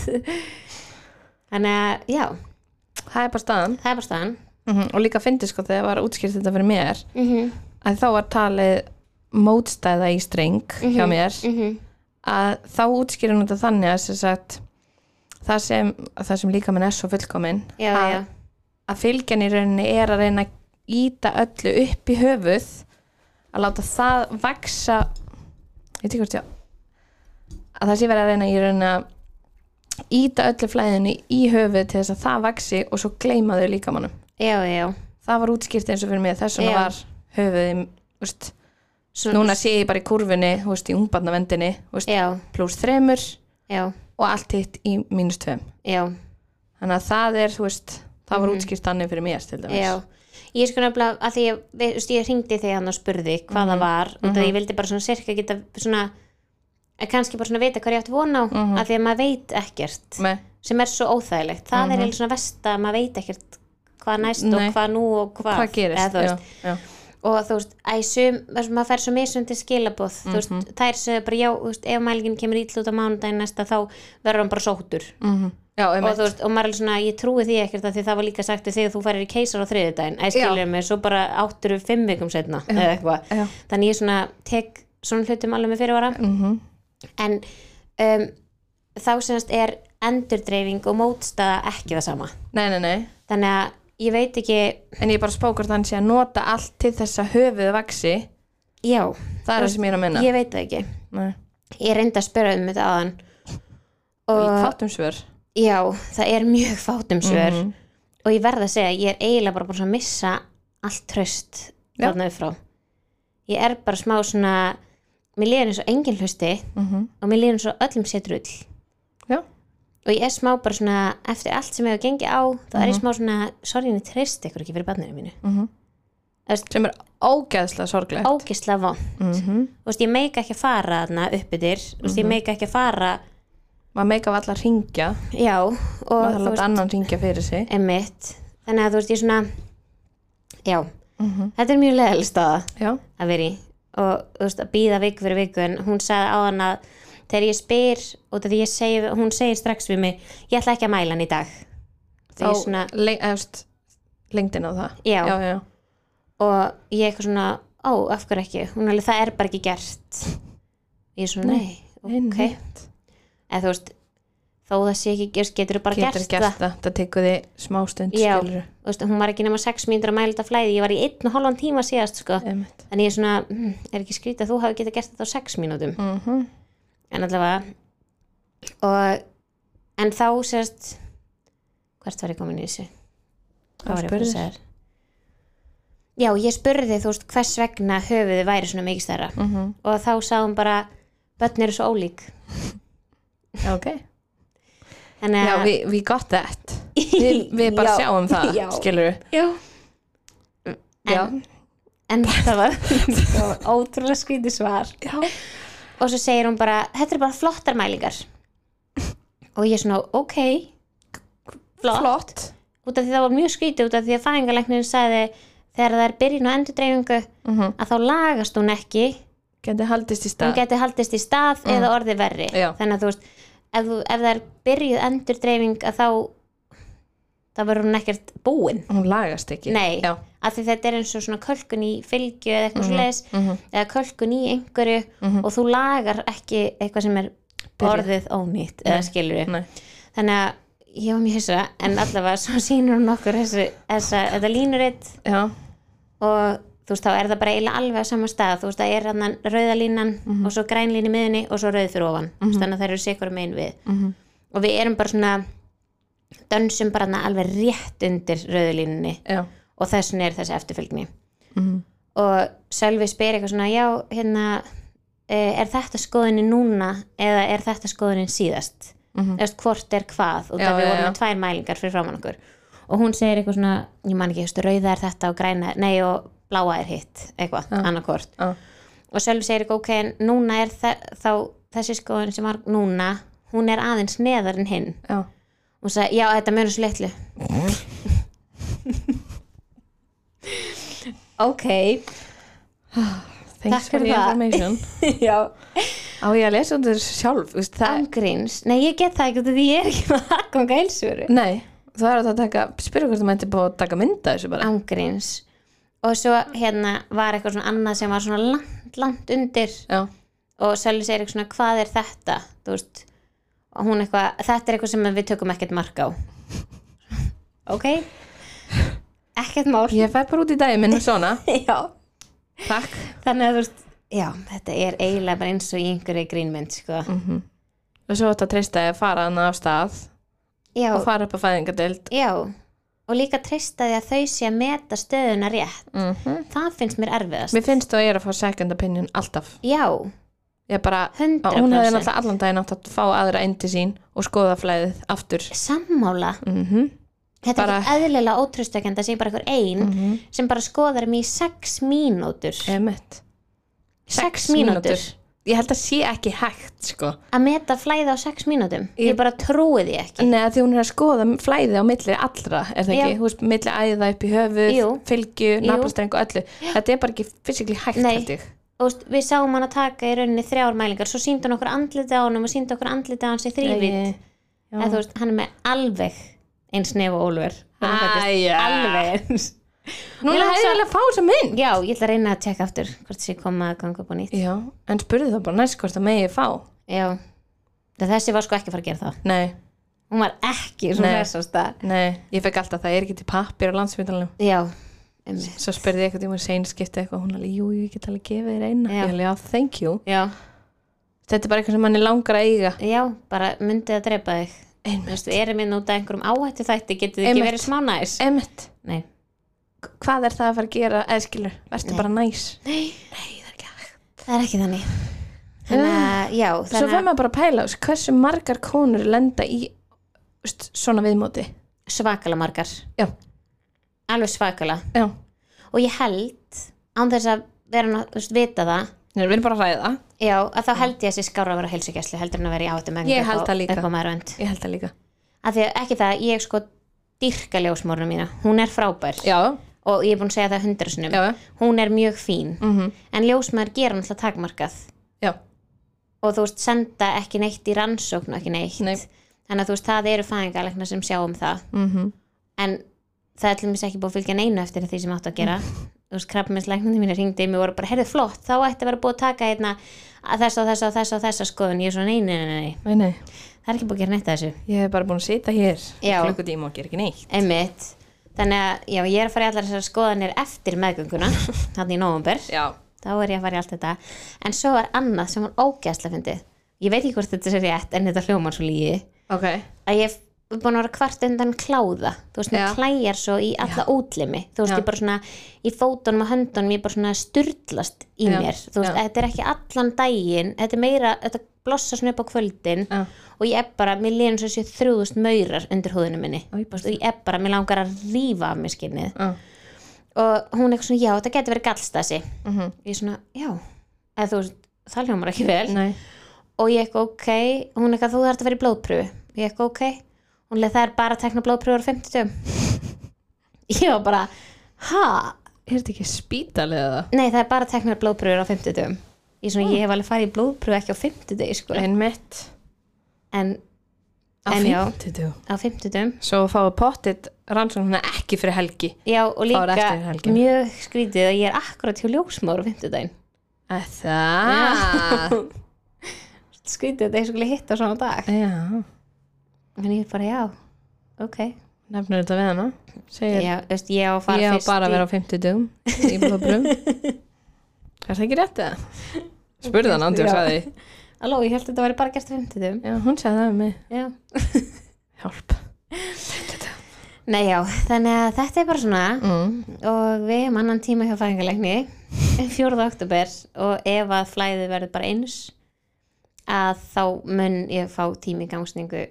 Speaker 1: þannig að já,
Speaker 2: Það er bara staðan.
Speaker 1: það er bara staðan
Speaker 2: Mm Og líka fyndi sko þegar var útskýrt þetta fyrir mér,
Speaker 1: mm -hmm.
Speaker 2: að þá var talið mótstæða í streng
Speaker 1: Mhm,
Speaker 2: hjá mér, að þá útskýrir hún þetta þannig að sem sagt, það sem, það sem líka minn er svo fullkominn
Speaker 1: já,
Speaker 2: að,
Speaker 1: já,
Speaker 2: að fylgjan í rauninni er að reyna að íta öllu upp í höfuð að láta það vaksa ég veit ekki hvort já að það sé verið að reyna í rauninni að íta öllu flæðinu í höfuð til þess að það vaksi og svo gleyma þau líkamannum
Speaker 1: já, já
Speaker 2: það var útskýrt eins og fyrir mig þess
Speaker 1: Já.
Speaker 2: vegna var höfuðið úst,
Speaker 1: Svo,
Speaker 2: núna sé ég bara í kurfunni úst, í ungbarnavendinni úst,
Speaker 1: já,
Speaker 2: pluss þremur
Speaker 1: já,
Speaker 2: og allt hitt í mínus tveim
Speaker 1: já,
Speaker 2: þannig að það er, þú veist, það var útskýrt þannig fyrir mér til dæmis
Speaker 1: Mhm. já ég sko nefnilega, að því ég, við, veist, ég hringdi þegar hann og spurði hvað
Speaker 2: Mhm.
Speaker 1: það var og það ég vildi bara svona sirka geta svona að kannski bara svona vita hvað ég átti von á mm
Speaker 2: Mhm.
Speaker 1: að því að maður veit ekkert
Speaker 2: Með,
Speaker 1: sem er svo óþægilegt það er eða svona vest að maður veit ekkert hvað næst
Speaker 2: Mhm. Nei.
Speaker 1: og hvað nú og hvað,
Speaker 2: hvað
Speaker 1: eða,
Speaker 2: gerist
Speaker 1: þú veist,
Speaker 2: já, já.
Speaker 1: og þú veist, æ, sum, þú veist, maður fer svo misum til skilabóð þú
Speaker 2: Mhm.
Speaker 1: veist, þær sögðu bara já, þú veist, ef mælingin kemur ítl út á mánudaginn næsta þá verður hann bara sóttur
Speaker 2: Mhm. já,
Speaker 1: og
Speaker 2: einmitt
Speaker 1: þú veist, og maður er alveg svona, ég trúi því ekkert af því það var líka sagt við þig að þú færir í keisar á þriðudaginn æ, skilur mig, svo bara áttur við fimm vikum setna eða eitthvað,
Speaker 2: já.
Speaker 1: þannig ég svona tek svona hlutum alveg með fyrirvara
Speaker 2: Mhm.
Speaker 1: en um, þá semast er endurdreifing og mótstaða ekki það sama
Speaker 2: nei, nei, nei
Speaker 1: þannig að ég veit ekki
Speaker 2: en ég er bara spókur þannig að nota allt til þess að höfuð vaksi
Speaker 1: já,
Speaker 2: það er það sem ég er að minna
Speaker 1: ég veit það ekki
Speaker 2: Nei.
Speaker 1: ég reyndi að spyrja um þetta aðan
Speaker 2: og
Speaker 1: og
Speaker 2: fattum svör
Speaker 1: já, það er mjög fátum svör
Speaker 2: Mhm.
Speaker 1: og ég verð að segja, ég er eiginlega bara búin að missa allt tröst
Speaker 2: Já.
Speaker 1: þarna upp frá ég er bara smá svona mér líður eins og engin hlusti
Speaker 2: Mhm.
Speaker 1: og mér líður eins og öllum setur ull
Speaker 2: já,
Speaker 1: og ég er smá bara svona eftir allt sem hefur gengið á þá
Speaker 2: Mhm.
Speaker 1: er ég smá svona, sorry, ég treyst ykkur ekki fyrir barninu mínu
Speaker 2: sem er ógeðslega sorglegt
Speaker 1: ógislega vond
Speaker 2: Mhm.
Speaker 1: þú veist, ég meika ekki að fara þarna uppiðir þú veist, ég meika ekki að fara
Speaker 2: maður meika allar að ringja
Speaker 1: já, og
Speaker 2: maður þarf að
Speaker 1: þú
Speaker 2: láta
Speaker 1: veist,
Speaker 2: annan ringja fyrir sig
Speaker 1: emitt þannig að þú veist, ég svona já, þetta er mjög leðal staða
Speaker 2: já,
Speaker 1: að vera í og þú veist, að býða viku fyrir viku en hún sagði á hann að þegar ég spyr og því ég segi, hún segir strax við mig ég ætla ekki að mæla hann í dag
Speaker 2: þá
Speaker 1: þá svona,
Speaker 2: le efst, lengdin á það
Speaker 1: já,
Speaker 2: já, já,
Speaker 1: og ég eitthvað svona ó, af hverju ekki, hún alveg, það er bara ekki gert ég er svona, nei, ok
Speaker 2: Einmitt.
Speaker 1: eða þú veist þó það sé ekki gerst, getur þú bara
Speaker 2: getur
Speaker 1: gert,
Speaker 2: gert það, það tekur þið smástund
Speaker 1: Já.
Speaker 2: skilurðu.
Speaker 1: þú veist, hún var ekki nema 6 mínútur að mæla þetta flæði, ég var í einn og hálfan tíma síðast sko.
Speaker 2: Einmitt.
Speaker 1: en ég er svona, mm, er ekki skrýt að þú hafi getað gert þetta á 6 mínútum
Speaker 2: Mhm.
Speaker 1: en allavega og, en þá sérst hvert var ég komin í þessu
Speaker 2: Hvað
Speaker 1: hvað var ég
Speaker 2: spurðir?
Speaker 1: fyrir þessar já, ég spurði þú veist hvers vegna höfuðu væri svona mikið stærra
Speaker 2: Mhm.
Speaker 1: og þá sagði hún bara börn eru svo ólík
Speaker 2: Já, ok
Speaker 1: þannig
Speaker 2: já,
Speaker 1: að
Speaker 2: we, we got that við, við bara
Speaker 1: Já.
Speaker 2: sjáum það,
Speaker 1: Já.
Speaker 2: skilur
Speaker 1: já.
Speaker 2: já,
Speaker 1: En, en það
Speaker 2: <laughs>
Speaker 1: var það var ótrúlega skrítið svar
Speaker 2: já.
Speaker 1: og svo segir hún bara, þetta er bara flottar mælingar og ég svona, ok flott,
Speaker 2: flott
Speaker 1: út af því það var mjög skrítið út af því að fæðingalæknirinn sagði þegar það er byrjun og endurdreifingu
Speaker 2: Mhm.
Speaker 1: að þá lagast hún ekki
Speaker 2: geti haldist í
Speaker 1: hún
Speaker 2: stað
Speaker 1: geti haldist í stað eða orðið verri
Speaker 2: Mhm. Já.
Speaker 1: þannig að þú veist ef, þú- ef það er byrjuð endurdreifing að þá þá verður hún ekkert búin
Speaker 2: hún lagast ekki
Speaker 1: Nei,
Speaker 2: já,
Speaker 1: af því þetta er eins og svona kölkun í fylgju
Speaker 2: Mhm.
Speaker 1: eða eitthvað mm eða kölkun í einhverju og þú lagar ekki eitthvað sem er orðið ónýtt eða skilur
Speaker 2: Nei.
Speaker 1: þannig að ég var mjög hissa en allavega svo <laughs> sýnur hún okkur þessi, þessa, þetta línuritt
Speaker 2: Já,
Speaker 1: og þú veist þá er það bara eiginlega alveg á sama stað þú veist það er hann rauða línan og svo grænlín í miðunni og svo rauð fyrir ofan mm -hmm. þannig að það eru sikur megin við
Speaker 2: Mhm.
Speaker 1: og við erum bara svona dönsum bara þarna alveg rétt undir rauðu línunni
Speaker 2: já,
Speaker 1: og þess vegna er þessi eftirfylgni
Speaker 2: Mhm.
Speaker 1: og Sölvi spyr eitthvað svona já, hérna, eh, er þetta skoðunin núna eða er þetta skoðunin síðast
Speaker 2: Mhm.
Speaker 1: eftir hvort er hvað og
Speaker 2: Já,
Speaker 1: það við
Speaker 2: já,
Speaker 1: vorum
Speaker 2: já.
Speaker 1: með tvær mælingar fyrir framann okkur og hún segir eitthvað svona, ég man ekki, þú veist, rauða er þetta og græna, nei og bláa er hitt eitthvað, ja. annarkvort
Speaker 2: já,
Speaker 1: og Sölvi segir eitthvað, ok, en núna er þe þá þessi skoðun sem var núna hún er aðeins neðar en hinn
Speaker 2: já.
Speaker 1: hún sagði, já, þetta mjög svo litlu ok <laughs>
Speaker 2: Thanks
Speaker 1: Takk
Speaker 2: for
Speaker 1: fyrir
Speaker 2: the
Speaker 1: það.
Speaker 2: information.
Speaker 1: já,
Speaker 2: Á ég að lesa um þetta sjálf, þú veist, það,
Speaker 1: ángríns nei, ég get það ekki, út af því ég er ekki með aðganga heilsveru
Speaker 2: nei, það er hægt að taka, spyrja hvort þú mætti búið að taka mynda þessu bara.
Speaker 1: ángríns og svo hérna var eitthvað svona annað sem var svona langt, langt undir
Speaker 2: Já,
Speaker 1: og Sölvi segir eitthvað svona, hvað er þetta þú veist, og hún eitthvað þetta er eitthvað sem við tökum ekkert mark á <laughs> ok ekkert mál
Speaker 2: ég fæ bara út í daginn minn og svona,
Speaker 1: <laughs> já
Speaker 2: takk.
Speaker 1: þannig að þú veist já, þetta er eiginlega bara eins og í einhverju grínmynd sko.
Speaker 2: Og svo þetta treysta ég að fara hana af stað
Speaker 1: já,
Speaker 2: og fara upp á fæðingadeild.
Speaker 1: já og líka treysta því að þau sé að meta stöðuna rétt
Speaker 2: Mhm.
Speaker 1: það finnst mér erfiðast
Speaker 2: Mér finnst þú að ég er að fá second opinion alltaf.
Speaker 1: já,
Speaker 2: Ég bara,
Speaker 1: 100%.
Speaker 2: hún hefði náttúrulega allan daginn átt að fá aðra inn til sín og skoða flæðið aftur.
Speaker 1: sammála
Speaker 2: Mhm.
Speaker 1: þetta
Speaker 2: Bara-
Speaker 1: er ekki eðlilega ótrústökjandi að sé bara einhver ein sem bara skoðar mér í sex mínútur
Speaker 2: Emmett.
Speaker 1: sex mínútur
Speaker 2: Ég held að sé ekki hægt, sko.
Speaker 1: að meta flæði á sex mínútum
Speaker 2: Ég-
Speaker 1: ég, bara trúi því ekki
Speaker 2: Nei, að því hún er að skoða flæði á milli allra, er það
Speaker 1: Já.
Speaker 2: ekki? Þú veist, milli æða upp í höfuð,
Speaker 1: Jú.
Speaker 2: fylgju, nafnastreng og öllu. Þetta er bara ekki fysikli hægt,
Speaker 1: Nei.
Speaker 2: held ég.
Speaker 1: og veist, við sáum hann að taka í rauninni þrjár mælingar svo síndi hann okkur andlitið á hann og síndi okkur andlitið á hans í þrývít
Speaker 2: Nei. Já.
Speaker 1: en þú veist, hann er með alveg eins nef og Ólfur þegar hann fæddist.
Speaker 2: Æja.
Speaker 1: alveg
Speaker 2: <laughs>
Speaker 1: eins Ég
Speaker 2: Núna
Speaker 1: las
Speaker 2: hefði ég
Speaker 1: að-
Speaker 2: alveg að fá þessa mynd.
Speaker 1: já, ég ætla að reyna að tjekka aftur hvort þessi koma að ganga upp á nýtt
Speaker 2: Já, en spurði það bara næst hvort það megi fá.
Speaker 1: já, en þessi var sko ekki að fara að gera það
Speaker 2: Nei,
Speaker 1: hún var ekki svona
Speaker 2: Nei.
Speaker 1: þessast að
Speaker 2: nei, ég fekk alltaf það, er ekki til pappir á landsmyndalanum.
Speaker 1: já, emmi
Speaker 2: Svo spurði ég eitthvað tíma seinskipti eitthvað, hún alveg, jú, ég get alveg gefið þér eina.
Speaker 1: Já.
Speaker 2: Ég alveg, já, thank you.
Speaker 1: já,
Speaker 2: Þetta er bara eitthvað sem manni langar að eiga.
Speaker 1: já, bara myndið að drepa þig Þú
Speaker 2: Einmitt.
Speaker 1: veist, við erum inn út af einhverjum áhættu þætti getið þið ekki
Speaker 2: Einmitt.
Speaker 1: verið smá næs
Speaker 2: Einmitt.
Speaker 1: nei,
Speaker 2: Hvað er það að fara að gera, eða skilur, verður bara næs.
Speaker 1: nei,
Speaker 2: Nei, það er ekki hægt.
Speaker 1: það er ekki þannig þannig að, já,
Speaker 2: Ah. Svo
Speaker 1: þannig
Speaker 2: fyrir
Speaker 1: að
Speaker 2: maður bara að pæla, þú veist, hversu margar konur lenda í veist, svona viðmóti.
Speaker 1: svakala margar
Speaker 2: Já,
Speaker 1: alveg svakala
Speaker 2: já.
Speaker 1: og ég held án þess að vera, ná- þú veist, vita það
Speaker 2: Nei, við erum bara að ræða.
Speaker 1: Já, að þá held ég að þessi skára að vera heilsugjæslu heldur en að vera í áhættu mengu
Speaker 2: Ég held það líka.
Speaker 1: upp á maður vend
Speaker 2: Ég held það líka.
Speaker 1: að því að ekki það, ég sko dyrka ljósmórnum mína, hún er frábær
Speaker 2: Já,
Speaker 1: og ég er búin að segja það hundra sinum
Speaker 2: já,
Speaker 1: hún er mjög fín,
Speaker 2: Mhm.
Speaker 1: en ljósmæður gera náttúrulega takmarkað
Speaker 2: já.
Speaker 1: og þú veist, senda ekki neitt í rannsókn og ekki neitt,
Speaker 2: Nei.
Speaker 1: þannig að þú veist, það eru fæðingalegna sem sjá um það
Speaker 2: Mm -hmm.
Speaker 1: en það er til mér ekki búið að fylgja neina eftir því sem átt að gera
Speaker 2: Mm.
Speaker 1: þú veist, krabbmessleiknandi mínu ringdi í mig og voru bara, heyrðu flott, þá ætti að vera búið að taka hérna að þessa og þessa og þessa og þessa skoðun ég er svona, nei, nei, nei, nei,
Speaker 2: Nei, nei.
Speaker 1: það er ekki búið að gera neitt að þessu
Speaker 2: Ég hef bara búin að sita hér.
Speaker 1: Já.
Speaker 2: Klukkutíma og gera ekki neitt.
Speaker 1: einmitt, þannig að já, ég er að fara í allar þessar skoðanir eftir meðgönguna <laughs> þannig í nóvumber,
Speaker 2: Já.
Speaker 1: þá er ég að fara í allt þetta en svo er annað sem var ógæsla fyndið, ég veit ekki hvort þetta sé rétt en þetta hljómar svo lígi
Speaker 2: Ok.
Speaker 1: að ég er búin að vera kvart undan kláða þú veist,
Speaker 2: Já.
Speaker 1: mér klæjar svo í alla útlimi þú veist,
Speaker 2: Já.
Speaker 1: ég bara svona í fótunum og höndunum, ég bara svona styrlast í
Speaker 2: Já.
Speaker 1: mér, þú veist,
Speaker 2: Já.
Speaker 1: þetta er ekki allan daginn, þetta er meira, þetta blossa svona upp á kvöldin
Speaker 2: Já.
Speaker 1: og ég er bara, mér líður eins og þessi þrjúðust maurar undir húðinu minni
Speaker 2: Æ, bara
Speaker 1: Þú veist, og ég er bara, mér langar að rífa af mér skinnið
Speaker 2: Já.
Speaker 1: og hún er eitthvað svona, já, þetta getur verið gallstasi
Speaker 2: Mhm.
Speaker 1: ég er svona, já, eða þú veist það hljómar ekki vel
Speaker 2: Nei.
Speaker 1: og ég ekki ok, hún ekki að þú þarf að vera í blóðpröfu ég ekki ok, hún leið það er bara að tekna blóðpröfur á 50
Speaker 2: <laughs>
Speaker 1: ég var bara, ha
Speaker 2: Er þetta ekki spítalega það?
Speaker 1: nei það er bara að tekna blóðpröfur á 50 ég,
Speaker 2: Ah.
Speaker 1: svona, ég hef alveg farið í blóðpröfu ekki á 50 sko.
Speaker 2: Einmitt.
Speaker 1: en
Speaker 2: Á
Speaker 1: En já.
Speaker 2: 50.
Speaker 1: á 50
Speaker 2: Svo fáið pottit rannsóknuna ekki fyrir helgi.
Speaker 1: já og
Speaker 2: Fáir
Speaker 1: líka
Speaker 2: eftir helgina.
Speaker 1: mjög skrítið að ég er akkurat hjá ljósmár á 50
Speaker 2: Að Það.
Speaker 1: skrítið að ég skulle hitta svona dag
Speaker 2: Já,
Speaker 1: en ég er bara já, ok
Speaker 2: nefnir þetta við hana segir,
Speaker 1: já, veist, ég á að fara
Speaker 2: ég á
Speaker 1: fyrst
Speaker 2: bara
Speaker 1: í-
Speaker 2: að vera á 50 dugum í <laughs> blóðbrum Er það ekki rétt eða? Spurði hann ándi og
Speaker 1: Já.
Speaker 2: sagði
Speaker 1: Halló, ég held að þetta væri bara gert á 50
Speaker 2: Já, hún sagði það um mig
Speaker 1: já.
Speaker 2: Hjálp
Speaker 1: Nei já, þannig að þetta er bara svona
Speaker 2: mm.
Speaker 1: og við hefum annan tíma hjá <laughs> fæðingalegni 4. oktober og ef að flæðið verður bara eins að þá mun ég fá tími í gangsningu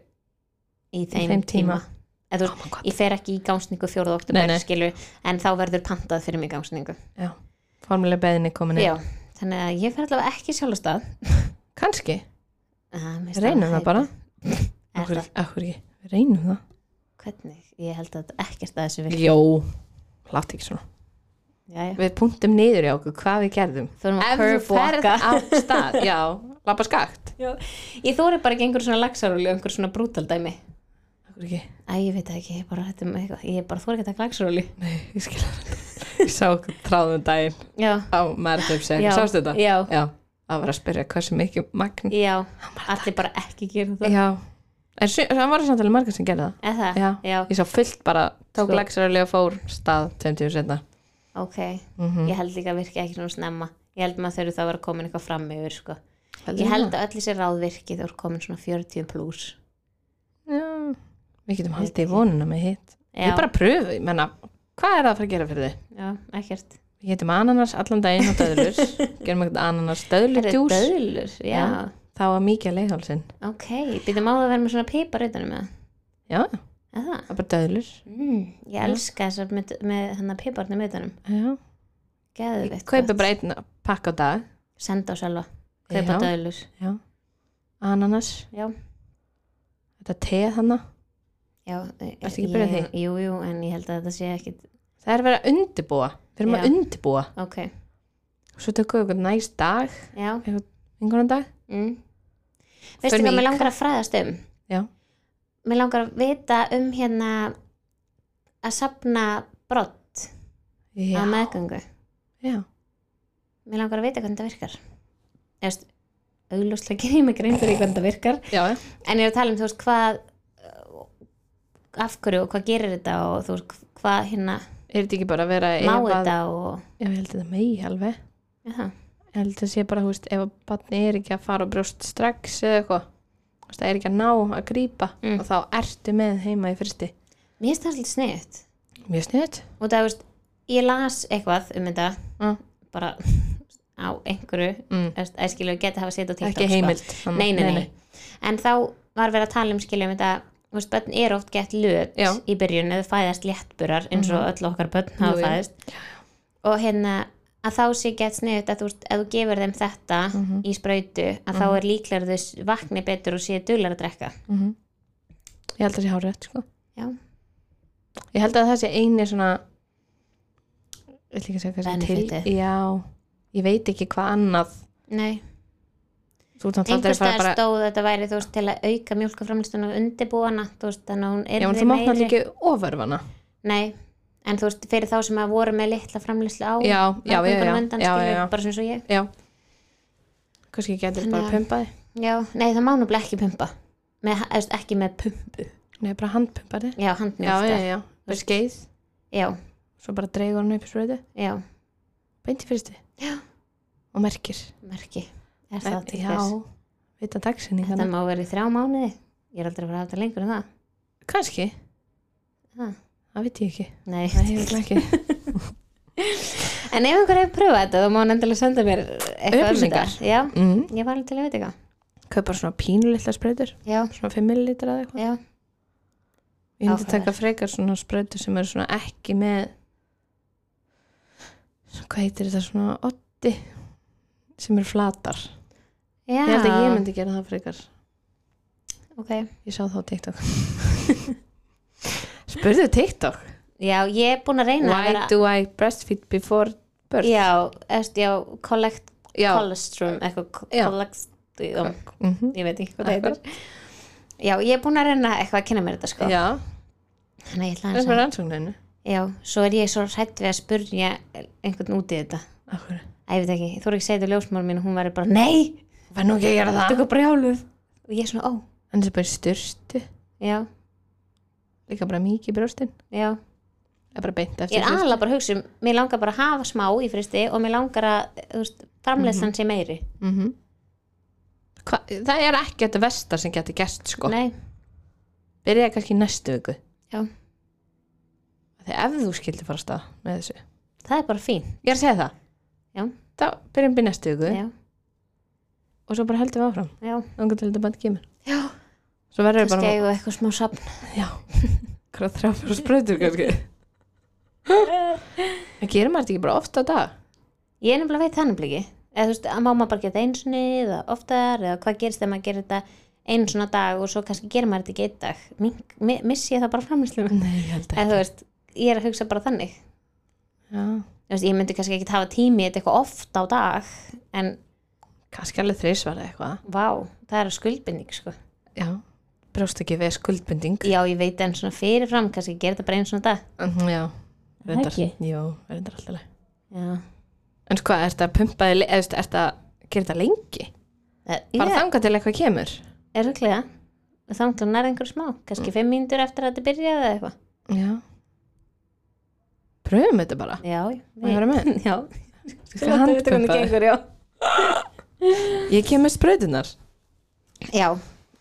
Speaker 1: í þeim,
Speaker 2: þeim tíma.
Speaker 1: Eða,
Speaker 2: Oh my
Speaker 1: oh
Speaker 2: god.
Speaker 1: ég fer ekki í gangsningu 4.
Speaker 2: Nei,
Speaker 1: oktober
Speaker 2: nei.
Speaker 1: skilu, en þá verður pantað fyrir mig gangsningu
Speaker 2: Já, formulega beðinni komin inn
Speaker 1: já, þannig að ég fer allavega ekki sjálf á stað
Speaker 2: Kanski,
Speaker 1: Ah, mér finnst
Speaker 2: reynum það
Speaker 1: hægt.
Speaker 2: bara
Speaker 1: Er
Speaker 2: Akkur,
Speaker 1: það-
Speaker 2: akkur ekki, við reynum það
Speaker 1: hvernig, ég held að þetta ekkert að þessu vil
Speaker 2: Jó, látt ekki svona
Speaker 1: Jæja.
Speaker 2: Við punktum niður í okkur hvað við gerðum
Speaker 1: Förum að
Speaker 2: Ef þú ferð
Speaker 1: curvewalka.
Speaker 2: á stað, já, labba skakt
Speaker 1: Já, ég þóri bara ekki einhver svona lagsarúli og einhver svona brútal dæmi
Speaker 2: Akkur ekki
Speaker 1: Æ, ég veit það ekki, ég bara, þetta er með eitthvað ég bara þóri ekki að taka lagsarúli
Speaker 2: Nei, ég skil það Ég sá okkur tráðum daginn
Speaker 1: Já,
Speaker 2: á Marathon
Speaker 1: Já.
Speaker 2: Sástu þetta?
Speaker 1: Já.
Speaker 2: Það var að spyrja hversu mikið magn
Speaker 1: já, allir bara ekki gera það
Speaker 2: Já En sum- það var samtalið margar sem gerði það
Speaker 1: Er það?
Speaker 2: Já.
Speaker 1: já.
Speaker 2: Ég sá fullt bara, sko. tók
Speaker 1: Svo-
Speaker 2: lagsarölu og fór stað 20 setna
Speaker 1: ok
Speaker 2: Mhm.
Speaker 1: Ég held líka að virki ekki svona snemma Ég held maður þurfi þá að vera komin eitthvað fram yfir sko. Ég held að öll þessi ráð virki þú er komin svona 40 plus
Speaker 2: Já Við getum haldið í vonuna með hitt
Speaker 1: Já,
Speaker 2: Ég bara pröfu, ég menna Hvað er það að fara að gera fyrir þig?
Speaker 1: já ekkert
Speaker 2: Við getum ananas allan daginn og
Speaker 1: <laughs>
Speaker 2: döðlur Gerum eitthvað ananas
Speaker 1: Er
Speaker 2: döðlur
Speaker 1: þetta
Speaker 2: djús
Speaker 1: döðlur? Já,
Speaker 2: Já. Það var mikið leiðhálsinn
Speaker 1: ok Býtum á það að vera með svona pipar utanum með
Speaker 2: Já, það
Speaker 1: það Er það?
Speaker 2: er bara döðlur
Speaker 1: Mm, ég elska þessar með, með hennar piparnum utanum
Speaker 2: Já
Speaker 1: Geðveikt
Speaker 2: Kaupi
Speaker 1: gott.
Speaker 2: bara einn pakk á dag
Speaker 1: Senda á selva, kaupa
Speaker 2: Já.
Speaker 1: döðlur
Speaker 2: Já Ananas
Speaker 1: Já,
Speaker 2: Þetta teð hana
Speaker 1: já
Speaker 2: Ertu ekki byrjuð á því?
Speaker 1: Jú, jú, en ég held að þetta sé ekkit
Speaker 2: Það er verið að undirbúa Við erum að
Speaker 1: Já.
Speaker 2: undirbúa
Speaker 1: Ok,
Speaker 2: Og Svo tökum við eitthvað næst dag
Speaker 1: já
Speaker 2: Einhvern dag
Speaker 1: mm. Veistu
Speaker 2: Förum
Speaker 1: hvað
Speaker 2: í
Speaker 1: mér langar að fræðast um?
Speaker 2: Já
Speaker 1: Mér langar að vita um hérna að safna brott
Speaker 2: Já,
Speaker 1: að meðgöngu
Speaker 2: já.
Speaker 1: Mér langar að vita hvernig það virkar Eðast, augljóslega gerir ég mig grein fyrir því hvernig það virkar
Speaker 2: já, já.
Speaker 1: En ég er að tala um, þú veist, hvað af hverju og hvað gerir þetta og þú veist, hvað hérna
Speaker 2: Er þetta ekki bara að vera
Speaker 1: má
Speaker 2: ef að-
Speaker 1: þetta og
Speaker 2: Já, ég held að þetta megi alveg
Speaker 1: Já,
Speaker 2: Ég held að það sé bara, þú veist, ef að barni er ekki að fara á brjóst strax eða eitthvað þú veist, Það er ekki að ná að grípa
Speaker 1: Mm.
Speaker 2: og þá ertu með heima í fyrsti
Speaker 1: mér finnst það svolítið sniðut
Speaker 2: Mjög sniðut
Speaker 1: og það, veist, ég las eitthvað um þetta
Speaker 2: mm.
Speaker 1: bara á einhverju
Speaker 2: Mm.
Speaker 1: veist, að skilja, geta hafa setið á TikTok
Speaker 2: Ekki heimild Mm,
Speaker 1: sko. nei, nei, nei, en þá var verið að tala um skilja um þetta þú veist, börn eru oft gett löt
Speaker 2: Já. Mhm.
Speaker 1: í byrjun eða fæðast léttburar eins og öll okkar börn hafa
Speaker 2: Jú, jú.
Speaker 1: fæðast og hérna að þá sé gett sniðut að þú veist, ef þú gefur þeim þetta
Speaker 2: Mm. Mhm,
Speaker 1: í sprautu að þá er líklar þess vakni betur og sé duglar að drekka
Speaker 2: mhm. Ég held að það sé hárið, sko
Speaker 1: já,
Speaker 2: Ég held að það sé eini svona Ég ætla ekki að segja hvað sem
Speaker 1: Benefitið.
Speaker 2: til Já, ég veit ekki hvað annað
Speaker 1: nei
Speaker 2: Þú ert
Speaker 1: einhvers
Speaker 2: náttúrulega aldrei að
Speaker 1: staðar
Speaker 2: fara bara
Speaker 1: stóð að þetta væri þú veist til að auka mjólkaframlistun og undibúana þú veist þannig að hún
Speaker 2: Já, en
Speaker 1: er
Speaker 2: þú mátt náttúrulega ekki ofurvana
Speaker 1: nei, en þú veist fyrir þá sem að voru með litla framlistlu á
Speaker 2: Já, já, já, já,
Speaker 1: meðgöngunum undan,
Speaker 2: já,
Speaker 1: skilur,
Speaker 2: já, já.
Speaker 1: bara svona svo ég
Speaker 2: já. Kannski getur
Speaker 1: Þannig
Speaker 2: bara
Speaker 1: að-
Speaker 2: að pumpa þig
Speaker 1: já, nei það má náttúrulega ekki pumpa með, eða, ekki með pumpu
Speaker 2: Nei, bara handpumpa þig
Speaker 1: já,
Speaker 2: Já,
Speaker 1: handmjólka
Speaker 2: já, já, með skeið
Speaker 1: já,
Speaker 2: Svo bara dreigur hann upp í spröðu
Speaker 1: já,
Speaker 2: Beinti fyrsti
Speaker 1: Já.
Speaker 2: Og merkir
Speaker 1: merki er það
Speaker 2: En-
Speaker 1: til
Speaker 2: Já,
Speaker 1: þess
Speaker 2: vita dagsinni
Speaker 1: þetta
Speaker 2: þannig
Speaker 1: má verið þrjá mánuði ég er aldrei að fara að hafa þetta lengur en það
Speaker 2: Kannski,
Speaker 1: ha.
Speaker 2: það veit ég ekki
Speaker 1: nei,
Speaker 2: Nei, ég vil ekki
Speaker 1: <laughs> en ef einhver hefur pröfað þetta þá má hann endilega senda mér eitthvað um þetta.
Speaker 2: Upplýsingar.
Speaker 1: já,
Speaker 2: mm.
Speaker 1: ég var alveg til að veit eitthvað
Speaker 2: Kaup bara svona pínulitla sprautur
Speaker 1: já,
Speaker 2: Svona 5 ml eða eitthvað
Speaker 1: já,
Speaker 2: Ég myndi
Speaker 1: Áhugaverð.
Speaker 2: taka frekar svona sprautur sem eru svona ekki með svona, hvað heitir þetta svona otti sem eru flatar
Speaker 1: já
Speaker 2: Ég held að ég myndi gera það frekar
Speaker 1: ok
Speaker 2: Ég sá þá TikTok <laughs> Spurðu TikTok
Speaker 1: Já, ég er búin að reyna að
Speaker 2: Why
Speaker 1: vera
Speaker 2: do I breastfeed before birth?
Speaker 1: Já, eftir, já, collect
Speaker 2: Já.
Speaker 1: colostrum, eitthvað co-
Speaker 2: Já.
Speaker 1: collect já,
Speaker 2: Mhm.
Speaker 1: ég veit ekki hvað það heitir Já, ég er búin að reyna eitthvað að kynna mér þetta sko
Speaker 2: Já,
Speaker 1: Þannig að ég ætla
Speaker 2: það er
Speaker 1: aðeins
Speaker 2: með
Speaker 1: að
Speaker 2: rannsókninu
Speaker 1: Já, svo er ég svo hrætt við að spurja einhvern út í þetta
Speaker 2: Akkur
Speaker 1: Æ, ég veit ekki, þú er ekki að segja þetta ljósmál mín og hún verður bara, nei
Speaker 2: var nú ekki að gera það
Speaker 1: eitthvað brjáluð og ég svona, ó,
Speaker 2: hann er bara í styrstu,
Speaker 1: já,
Speaker 2: líka bara mikið í brjóstin
Speaker 1: já
Speaker 2: það er bara beint
Speaker 1: ég
Speaker 2: eftir
Speaker 1: er aðalega bara að hugsa um, mér langar bara að hafa smá í fristi og mér langar að þú veist, framleiðslan sé meiri
Speaker 2: mm Hva, það er ekki þetta vestar sem getur gerst sko
Speaker 1: nei,
Speaker 2: byrjaði kannski í næstu viku
Speaker 1: já,
Speaker 2: þegar ef þú skildir fara af stað með þessu
Speaker 1: það er bara fín
Speaker 2: ég er að segja það
Speaker 1: Já.
Speaker 2: þá byrjum við næstu viku
Speaker 1: já,
Speaker 2: og svo bara heldum við áfram
Speaker 1: já,
Speaker 2: þannig til þetta band kemur
Speaker 1: já
Speaker 2: svo verður við
Speaker 1: kannski
Speaker 2: bara
Speaker 1: eigum við eitthvað smá safn
Speaker 2: já <laughs> hvað þrjá fyrir sprautur kannski en gerir maður þetta ekki bara ofta á dag
Speaker 1: ég er nefnilega veit þannig bliki eða þú veist, að má maður bara geta einu sinni eða oftar eða hvað gerist þegar maður gerir þetta einu svona dag og svo kannski gerir maður þetta ekki einn dag Mink, mi- missi ég það bara
Speaker 2: <laughs>
Speaker 1: framlýslu
Speaker 2: nei, ég held
Speaker 1: eða þú veist, ég er að hugsa bara þannig
Speaker 2: já,
Speaker 1: Þú veist, ég myndi kannski ekki hafa tími í þetta eitthvað oft á dag en
Speaker 2: kannski alveg þrísvar eða eitthvað
Speaker 1: vá, það er skuldbinding sko.
Speaker 2: já, brjóst ekki við skuldbinding
Speaker 1: já, ég veit en svona fyrirfram kannski gera þetta bara einu svona dag
Speaker 2: Mhm, já, reyndar
Speaker 1: ekki?
Speaker 2: jú, reyndar alltaf leið
Speaker 1: já,
Speaker 2: en sko, ertu að pumpa þig le- eða þú veist, ertu að gera þetta lengi
Speaker 1: það
Speaker 2: bara
Speaker 1: ég
Speaker 2: þangað til eitthvað kemur
Speaker 1: Eh, er eh? röglega og þannig nær einhver smá, kannski fimm mínútur eftir að þetta byrjaði eða eitthvað
Speaker 2: já pröfum þetta bara
Speaker 1: já, ég-
Speaker 2: Má ég vera <laughs> með?
Speaker 1: já,
Speaker 2: Skal handpumpa þig?
Speaker 1: já
Speaker 2: ég kem með sprautunar
Speaker 1: Já,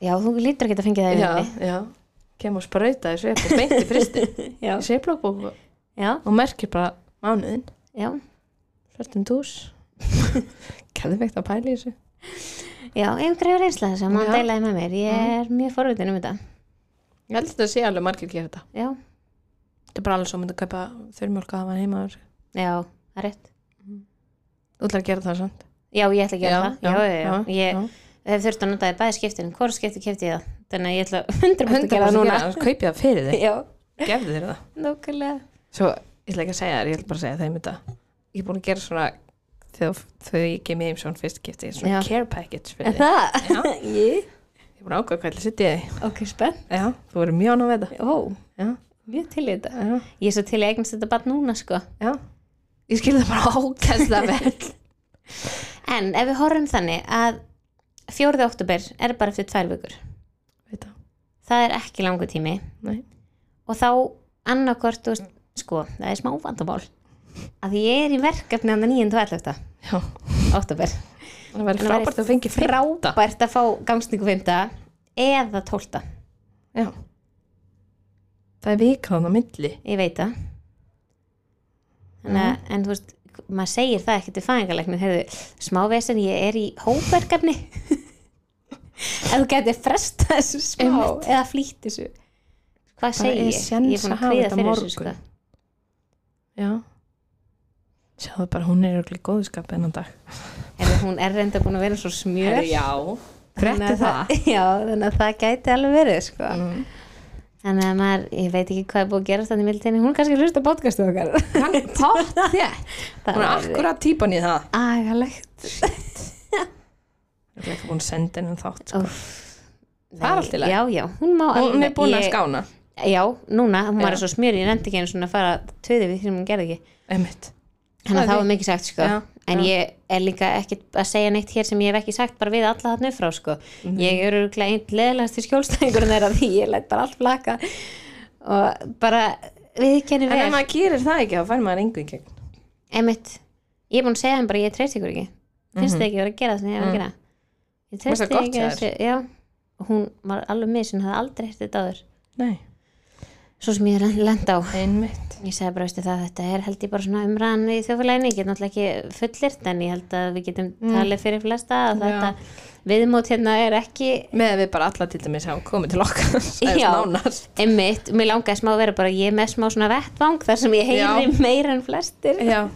Speaker 1: já, þú lítur ekki að fengja það í
Speaker 2: já,
Speaker 1: vinnunni.
Speaker 2: já kem og sprauta þessu upp og beint í <laughs> fristi
Speaker 1: Já.
Speaker 2: í seiflókbóku
Speaker 1: Já,
Speaker 2: og merkir bara mánuðin
Speaker 1: já,
Speaker 2: 14 tús <laughs> kæðveikt að pæla í þessu
Speaker 1: já, einhver hefur einslega þess að
Speaker 2: Já.
Speaker 1: maður deilaði með mér. Ég er mjög forvitin um þetta.
Speaker 2: ég held að þetta sé alveg margir gera þetta
Speaker 1: Já,
Speaker 2: þetta er bara alveg svo myndi að kaupa þurrmjólk að hafa heima og þessu.
Speaker 1: já, það er rétt.
Speaker 2: þú ætlar að gera það samt
Speaker 1: Já, ég ætla að gera það. Já, já, já.
Speaker 2: já.
Speaker 1: Ég hef þurft að nota það í bæði skiptin. Hvor skipti kefti ég það? Þannig að ég ætla 100% að
Speaker 2: 100%
Speaker 1: gera það núna.
Speaker 2: gera það, kaupið það fyrir
Speaker 1: <laughs>
Speaker 2: þig
Speaker 1: Já,
Speaker 2: gefðu þér það
Speaker 1: nákvæmlega.
Speaker 2: svo ég ætla ekki að segja þér, ég ætla bara að segja þeim þetta ég er búin að gera svona þegar þau ég kemur heim svona fyrst kipti svona
Speaker 1: Já.
Speaker 2: care package
Speaker 1: Er
Speaker 2: fyrir þig
Speaker 1: það? <laughs>
Speaker 2: Já.
Speaker 1: Ég?
Speaker 2: ég er búin að ákvæða hvað ég ætla að setja í þig
Speaker 1: Ok, spenn.
Speaker 2: já, þú verður mjög ánum við
Speaker 1: Ó,
Speaker 2: þetta já,
Speaker 1: mjög til í þetta.
Speaker 2: já,
Speaker 1: Ég er svo til í eignast þetta bara núna, sko.
Speaker 2: já ég skil það bara ákæðsla <laughs> vel
Speaker 1: En ef við horfum þannig að 4. oktober er bara eftir tvær vikur.
Speaker 2: Veit það.
Speaker 1: Það er ekki langu tími.
Speaker 2: Nei.
Speaker 1: og þá annarkvort, þú veist, sko, það er smá vandamál að ég er í verkefni hann 9. og 11.
Speaker 2: já,
Speaker 1: oktober
Speaker 2: það væri
Speaker 1: Það væri
Speaker 2: frábært að fengi fyrta
Speaker 1: bært að fá gangsningu 5. eða 12.
Speaker 2: já það er vikaðan á milli
Speaker 1: ég veit það Þannig,
Speaker 2: Mm.
Speaker 1: að, en þú veist, maður segir það ekki til fæðingarleiknum, heyrðu, smá vesen ég er í hópverkefni <laughs> ef þú getur fresta þessu smá
Speaker 2: Einmitt.
Speaker 1: eða flýtt þessu hvað segir
Speaker 2: er
Speaker 1: ég? Ég
Speaker 2: séns
Speaker 1: er búin
Speaker 2: að
Speaker 1: að
Speaker 2: hafa
Speaker 1: kvíða
Speaker 2: þetta
Speaker 1: fyrir
Speaker 2: morgun.
Speaker 1: þessu sko.
Speaker 2: já sjáðu bara hún er örugglega í góðu skapi enn dag
Speaker 1: Heyrðu, hún er reynda búin að vera svo smjör
Speaker 2: Herri, já,
Speaker 1: Þannig
Speaker 2: frétti
Speaker 1: að
Speaker 2: það
Speaker 1: <laughs> Já, þannig að það gæti alveg verið sko.
Speaker 2: Mm.
Speaker 1: Þannig að maður, ég veit ekki hvað er búið að gera þannig mildinni, hún kannski hlusta á podcastu okkar
Speaker 2: Hann
Speaker 1: <laughs>
Speaker 2: pott þér
Speaker 1: Það
Speaker 2: Hún er
Speaker 1: væri
Speaker 2: akkurat típan í það
Speaker 1: Agalegt
Speaker 2: Ég er ekki búin að senda henni þátt sko.
Speaker 1: Úff.
Speaker 2: Það er allt í lagi.
Speaker 1: Já, já, hún má
Speaker 2: Hún er
Speaker 1: alveg-
Speaker 2: búin að
Speaker 1: ég-
Speaker 2: skána
Speaker 1: Já, núna, hún
Speaker 2: Já.
Speaker 1: var svo smjör í rendi ekki einu svona að fara töði við því sem hún gerði ekki
Speaker 2: Einmitt
Speaker 1: Þannig
Speaker 2: Það
Speaker 1: að það
Speaker 2: er-
Speaker 1: var mikið sagt sko
Speaker 2: Já,
Speaker 1: En
Speaker 2: já.
Speaker 1: ég er líka ekki að segja neitt hér sem ég hef ekki sagt bara við alla þarna upp frá sko
Speaker 2: Mhm.
Speaker 1: Ég er öruglega einn leðilegast til skjólstæðingur þeirra því ég læt bara allt flaka og bara viðkenni
Speaker 2: En
Speaker 1: vel
Speaker 2: ef maður gerir það ekki þá fær maður engu í gegn
Speaker 1: Emmett, ég er búin að segja þeim bara ég treyst ykkur ekki finnst þið ekki vera að gera það sem ég er að gera ég
Speaker 2: Mhm. Mm. Mér finnst
Speaker 1: treyst
Speaker 2: það
Speaker 1: þið
Speaker 2: gott
Speaker 1: ekki
Speaker 2: hjá
Speaker 1: þessu já, og hún var alveg með sem hafði aldrei hægt þetta áður
Speaker 2: Nei
Speaker 1: svo sem ég er lenda á
Speaker 2: Einmitt
Speaker 1: ég segi bara, veistu það, þetta er held ég bara svona umræðan í þjófélaginu, ég get náttúrulega ekki fullirt en ég held að við getum talið fyrir flesta að
Speaker 2: Mm. Já.
Speaker 1: þetta viðmót hérna er ekki
Speaker 2: Með að við bara alla til dæmis hafa komið til okkar <laughs> eða
Speaker 1: Já.
Speaker 2: nánast.
Speaker 1: Einmitt, mér langaði smá að vera bara ég er með smá svona vettvang þar sem ég heyri
Speaker 2: Já.
Speaker 1: meira en flestir
Speaker 2: Já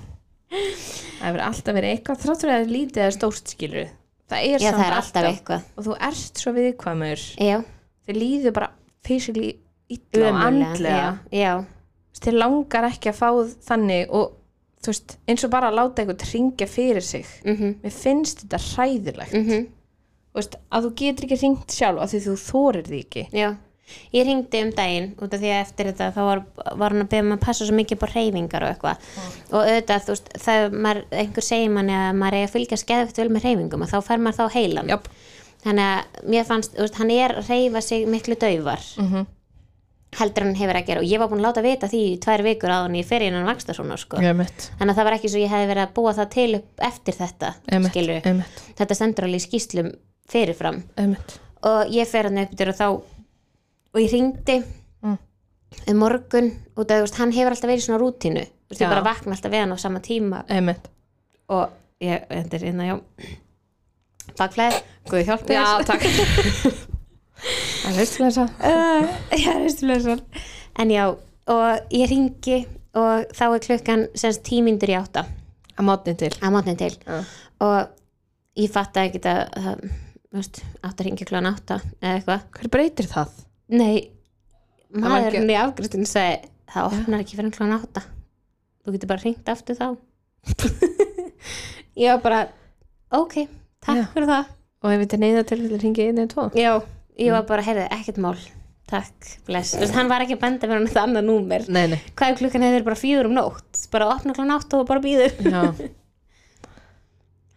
Speaker 2: Það hefur alltaf verið eitthvað þráttur að það er lítið eða stórt skilur Það er
Speaker 1: Já,
Speaker 2: samt
Speaker 1: það er alltaf eitthvað.
Speaker 2: Og þú ert svo viðkvæmur
Speaker 1: Já,
Speaker 2: Þeir líður bara fysikli illa og
Speaker 1: ömurlega,
Speaker 2: andlega
Speaker 1: Já, já,
Speaker 2: þeir langar ekki að fá þannig og þú veist, eins og bara að láta eitthvað ringja fyrir sig -hmm.
Speaker 1: Mhm.
Speaker 2: mér finnst þetta hræðilegt mm -hmm. veist, að þú getur ekki ringt sjálf af því þú þorir því ekki
Speaker 1: Já, ég ringdi um daginn út af því að eftir þetta þá var, var hann að beða maður að passa svo mikið upp á reyfingar og eitthvað
Speaker 2: Mm.
Speaker 1: og auðvitað þú veist þegar maður, einhver segir manni að maður er að fylgja skeðvægt vel með reyfingum og þá fær maður þá heilan
Speaker 2: Jáp.
Speaker 1: þannig að mér fannst, þú veist, hann er að reyfa sig miklu daufar
Speaker 2: Mhm.
Speaker 1: -hmm. heldur en hann hefur að gera og ég var búin að láta vita því í tvær vikur á hann í fyrir innan vaksta svona sko
Speaker 2: Ég mitt.
Speaker 1: þannig að það var ekki svo ég hefði verið að búa það til upp eftir þetta,
Speaker 2: Einmitt,
Speaker 1: skilurðu.
Speaker 2: einmitt.
Speaker 1: þetta stendur alveg í skýslum fyrirfram og ég fer hann upp til og þá og ég ringdi um morgun út af, þú veist, hann hefur alltaf verið í svona rútínu þú veist, ég
Speaker 2: Já.
Speaker 1: bara vakna alltaf við hann á sama tíma og ég, þetta er inn að já bakflæð, guði hjálpi
Speaker 2: Já,
Speaker 1: þér.
Speaker 2: takk.
Speaker 1: <laughs>
Speaker 2: Það er veistlega
Speaker 1: Uh, já, reistlösan en já, og ég ringi og þá er klukkan semst tímyndur í átta
Speaker 2: Að mótni til.
Speaker 1: að mótni til
Speaker 2: Já.
Speaker 1: og ég fatt ekki að það, þú veist, átt að ringi klukkan átta eða eitthvað
Speaker 2: Hver breytir það?
Speaker 1: Nei,
Speaker 2: var
Speaker 1: maðurinn í afgriðstun sagði, það opnar ekki fyrir klán átta þú getur bara hringt aftur þá <laughs> ég var bara ok, takk
Speaker 2: Já.
Speaker 1: fyrir það Mm.
Speaker 2: Og ef þetta neyða til þetta ringi einu eða tvo?
Speaker 1: já, ég var bara, heyrðu, ekkert mál takk, bless, Þú veist, hann var ekki að benda mér á þetta annað númer,
Speaker 2: Nei, nei.
Speaker 1: hvað er klukkan hefur bara fjögur um nótt, bara opna klán átta og bara býður <laughs>
Speaker 2: Já,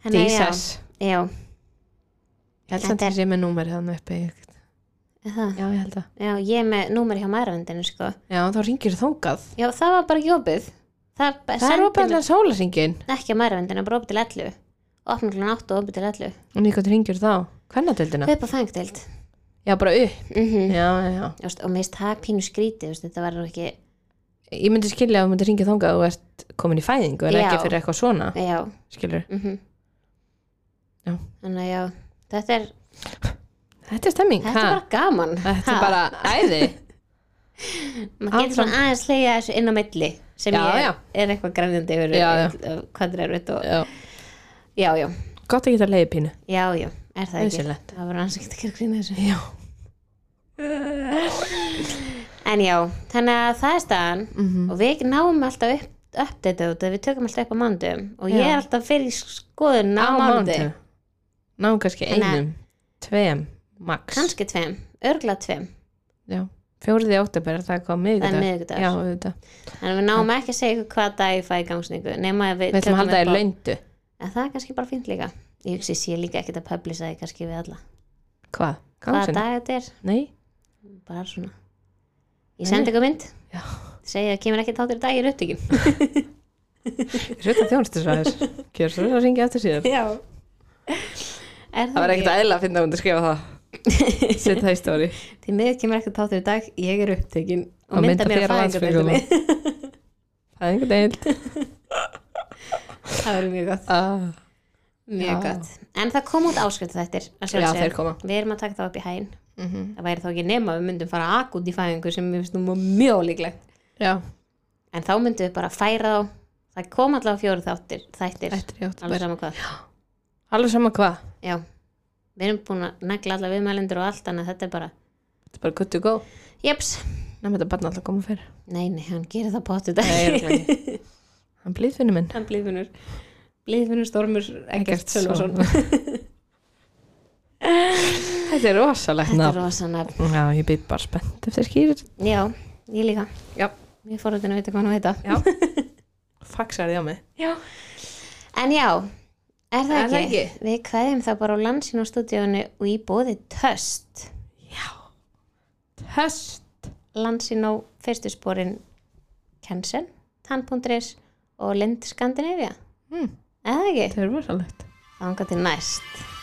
Speaker 2: Jesus.
Speaker 1: já, já,
Speaker 2: Ég held
Speaker 1: Þetta
Speaker 2: samt
Speaker 1: er-
Speaker 2: að ég er með númerið þannig uppi. Ég-
Speaker 1: er það
Speaker 2: Já, ég held að.
Speaker 1: já, ég er með númer hjá maðurvendinu sko,
Speaker 2: Já, þá ringir þóngað.
Speaker 1: já, það var bara ekki opið það,
Speaker 2: Það er
Speaker 1: sendi
Speaker 2: opið
Speaker 1: mér-
Speaker 2: allan sólaringin.
Speaker 1: ekki á maðurvendinu, bara opið til 11 opna klukkan 8 og opið til 11
Speaker 2: Og nýkvæmt ringir þá. Hvernadeldina?
Speaker 1: upp á fængdelt
Speaker 2: Já, bara upp.
Speaker 1: mm -hmm.
Speaker 2: Já, já, já.
Speaker 1: og mér finnst það pínu skrítið þú veist, þetta var nú ekki
Speaker 2: Ég myndi skilja að þú myndi ringið þóngað og ert komin í fæðingu en ekki
Speaker 1: Já.
Speaker 2: fyrir eitthvað svona.
Speaker 1: já,
Speaker 2: Skilur.
Speaker 1: mm
Speaker 2: Já.
Speaker 1: þannig að já þetta er,
Speaker 2: Þetta er stemming.
Speaker 1: þetta er
Speaker 2: ha?
Speaker 1: bara gaman
Speaker 2: Þetta
Speaker 1: Ha?
Speaker 2: er bara æði.
Speaker 1: <laughs> maður getur svona aðeins leiða þessu inn á milli sem
Speaker 2: Já,
Speaker 1: ég
Speaker 2: já.
Speaker 1: er eitthvað grænjandi yfir
Speaker 2: Já, já.
Speaker 1: hvað það er veit og
Speaker 2: Já.
Speaker 1: já, já,
Speaker 2: Gott að geta leiði pínu.
Speaker 1: já, já, er það ekki
Speaker 2: Nauðsynlegt.
Speaker 1: það var aðeins ekki að gera grína þessu
Speaker 2: Já.
Speaker 1: en já, þannig að það er staðan
Speaker 2: Mhm.
Speaker 1: og við náum alltaf upp uppdata út að við tökum alltaf upp á mándum og ég
Speaker 2: Já.
Speaker 1: er alltaf fyrir skoðun á, á mándi
Speaker 2: mánudag. Ná kannski
Speaker 1: Þannig að-
Speaker 2: einum, tveim, max.
Speaker 1: kannski tveim, örgla tveim
Speaker 2: Já. Fjóriði óttabæra, það kom miðvikudag.
Speaker 1: Það er miðvikudagur.
Speaker 2: Já, auðvitað.
Speaker 1: en við náum ekki að segja ykkur hvað dag ég fæ í gangsningu nema að við,
Speaker 2: Við ætlum að halda
Speaker 1: upp
Speaker 2: í
Speaker 1: á-
Speaker 2: laundu.
Speaker 1: en það er kannski bara fínt líka ég hugsi sé líka ekkert að publisa því kannski við alla
Speaker 2: Hvað?
Speaker 1: hvaða
Speaker 2: Gangsin?
Speaker 1: dag þetta er,
Speaker 2: Nei.
Speaker 1: bara svona ég sendi ykkur mynd
Speaker 2: Já.
Speaker 1: segja að kemur ekki þáttur í dag, ég er upptökin
Speaker 2: Svita þjónustisvæðis. Gjör svo að ringja
Speaker 1: <laughs>
Speaker 2: eftir
Speaker 1: <laughs>
Speaker 2: síðan.
Speaker 1: já er
Speaker 2: Það var
Speaker 1: það
Speaker 2: ekkert
Speaker 1: ekki,
Speaker 2: æðilega að finna hún
Speaker 1: <laughs>
Speaker 2: að skrifa það. Sett það í stóri.
Speaker 1: því miður kemur ekki þáttur í dag ég er upptökin og,
Speaker 2: Og
Speaker 1: mynda
Speaker 2: mynda
Speaker 1: mér
Speaker 2: þér á
Speaker 1: að fæðingardeildinni
Speaker 2: Það er einhvern veginn.
Speaker 1: <laughs> það verður mjög gott,
Speaker 2: Ah.
Speaker 1: mjög
Speaker 2: Já.
Speaker 1: gott en það kom út áskrift þettir
Speaker 2: Já, þeir koma.
Speaker 1: við erum að taka það upp í hæn það væri þá ekki nema að við myndum fara akut í fæðingu sem við finnum mjög líklegt
Speaker 2: Já,
Speaker 1: en þá myndum við bara færa þá það kom allavega fjóru þáttir þættir,
Speaker 2: eftir í
Speaker 1: alveg
Speaker 2: óttabæra.
Speaker 1: sama hvað
Speaker 2: Alveg sama hvað.
Speaker 1: já, við erum búin að negla alla viðmælendur og allt þannig að þetta er bara
Speaker 2: Þetta er bara good to go.
Speaker 1: jeps,
Speaker 2: Nefnum þetta barn alltaf koma
Speaker 1: <laughs>
Speaker 2: fyrir.
Speaker 1: nei nei, hann gerir það pottu dag
Speaker 2: Nei, örugglega ekki.
Speaker 1: <laughs>
Speaker 2: Hann blíðfinnur minn.
Speaker 1: hann blíðfinnur blíðfinnur stormur
Speaker 2: Ekkert
Speaker 1: ekkert Sölvason
Speaker 2: svo. Þetta er rosalegt
Speaker 1: þetta er
Speaker 2: nafn.
Speaker 1: rosan að,
Speaker 2: Já, ég býð bara spennt eftir skýrir.
Speaker 1: já, ég líka
Speaker 2: Já.
Speaker 1: ég fór að vita hvað hann veit
Speaker 2: Já. Faxar ég á mig.
Speaker 1: Já. En já, er það,
Speaker 2: Er það
Speaker 1: ekki?
Speaker 2: ekki?
Speaker 1: Við kveðjum það bara á landsinu á stúdíónu og í bóði töst.
Speaker 2: Höst.
Speaker 1: Landsinu fyrstu spórin Kensen, Tann.is og Lind Skandinavia.
Speaker 2: Mm.
Speaker 1: Er það ekki?
Speaker 2: Þetta er rosalegt.
Speaker 1: Þangað til næst.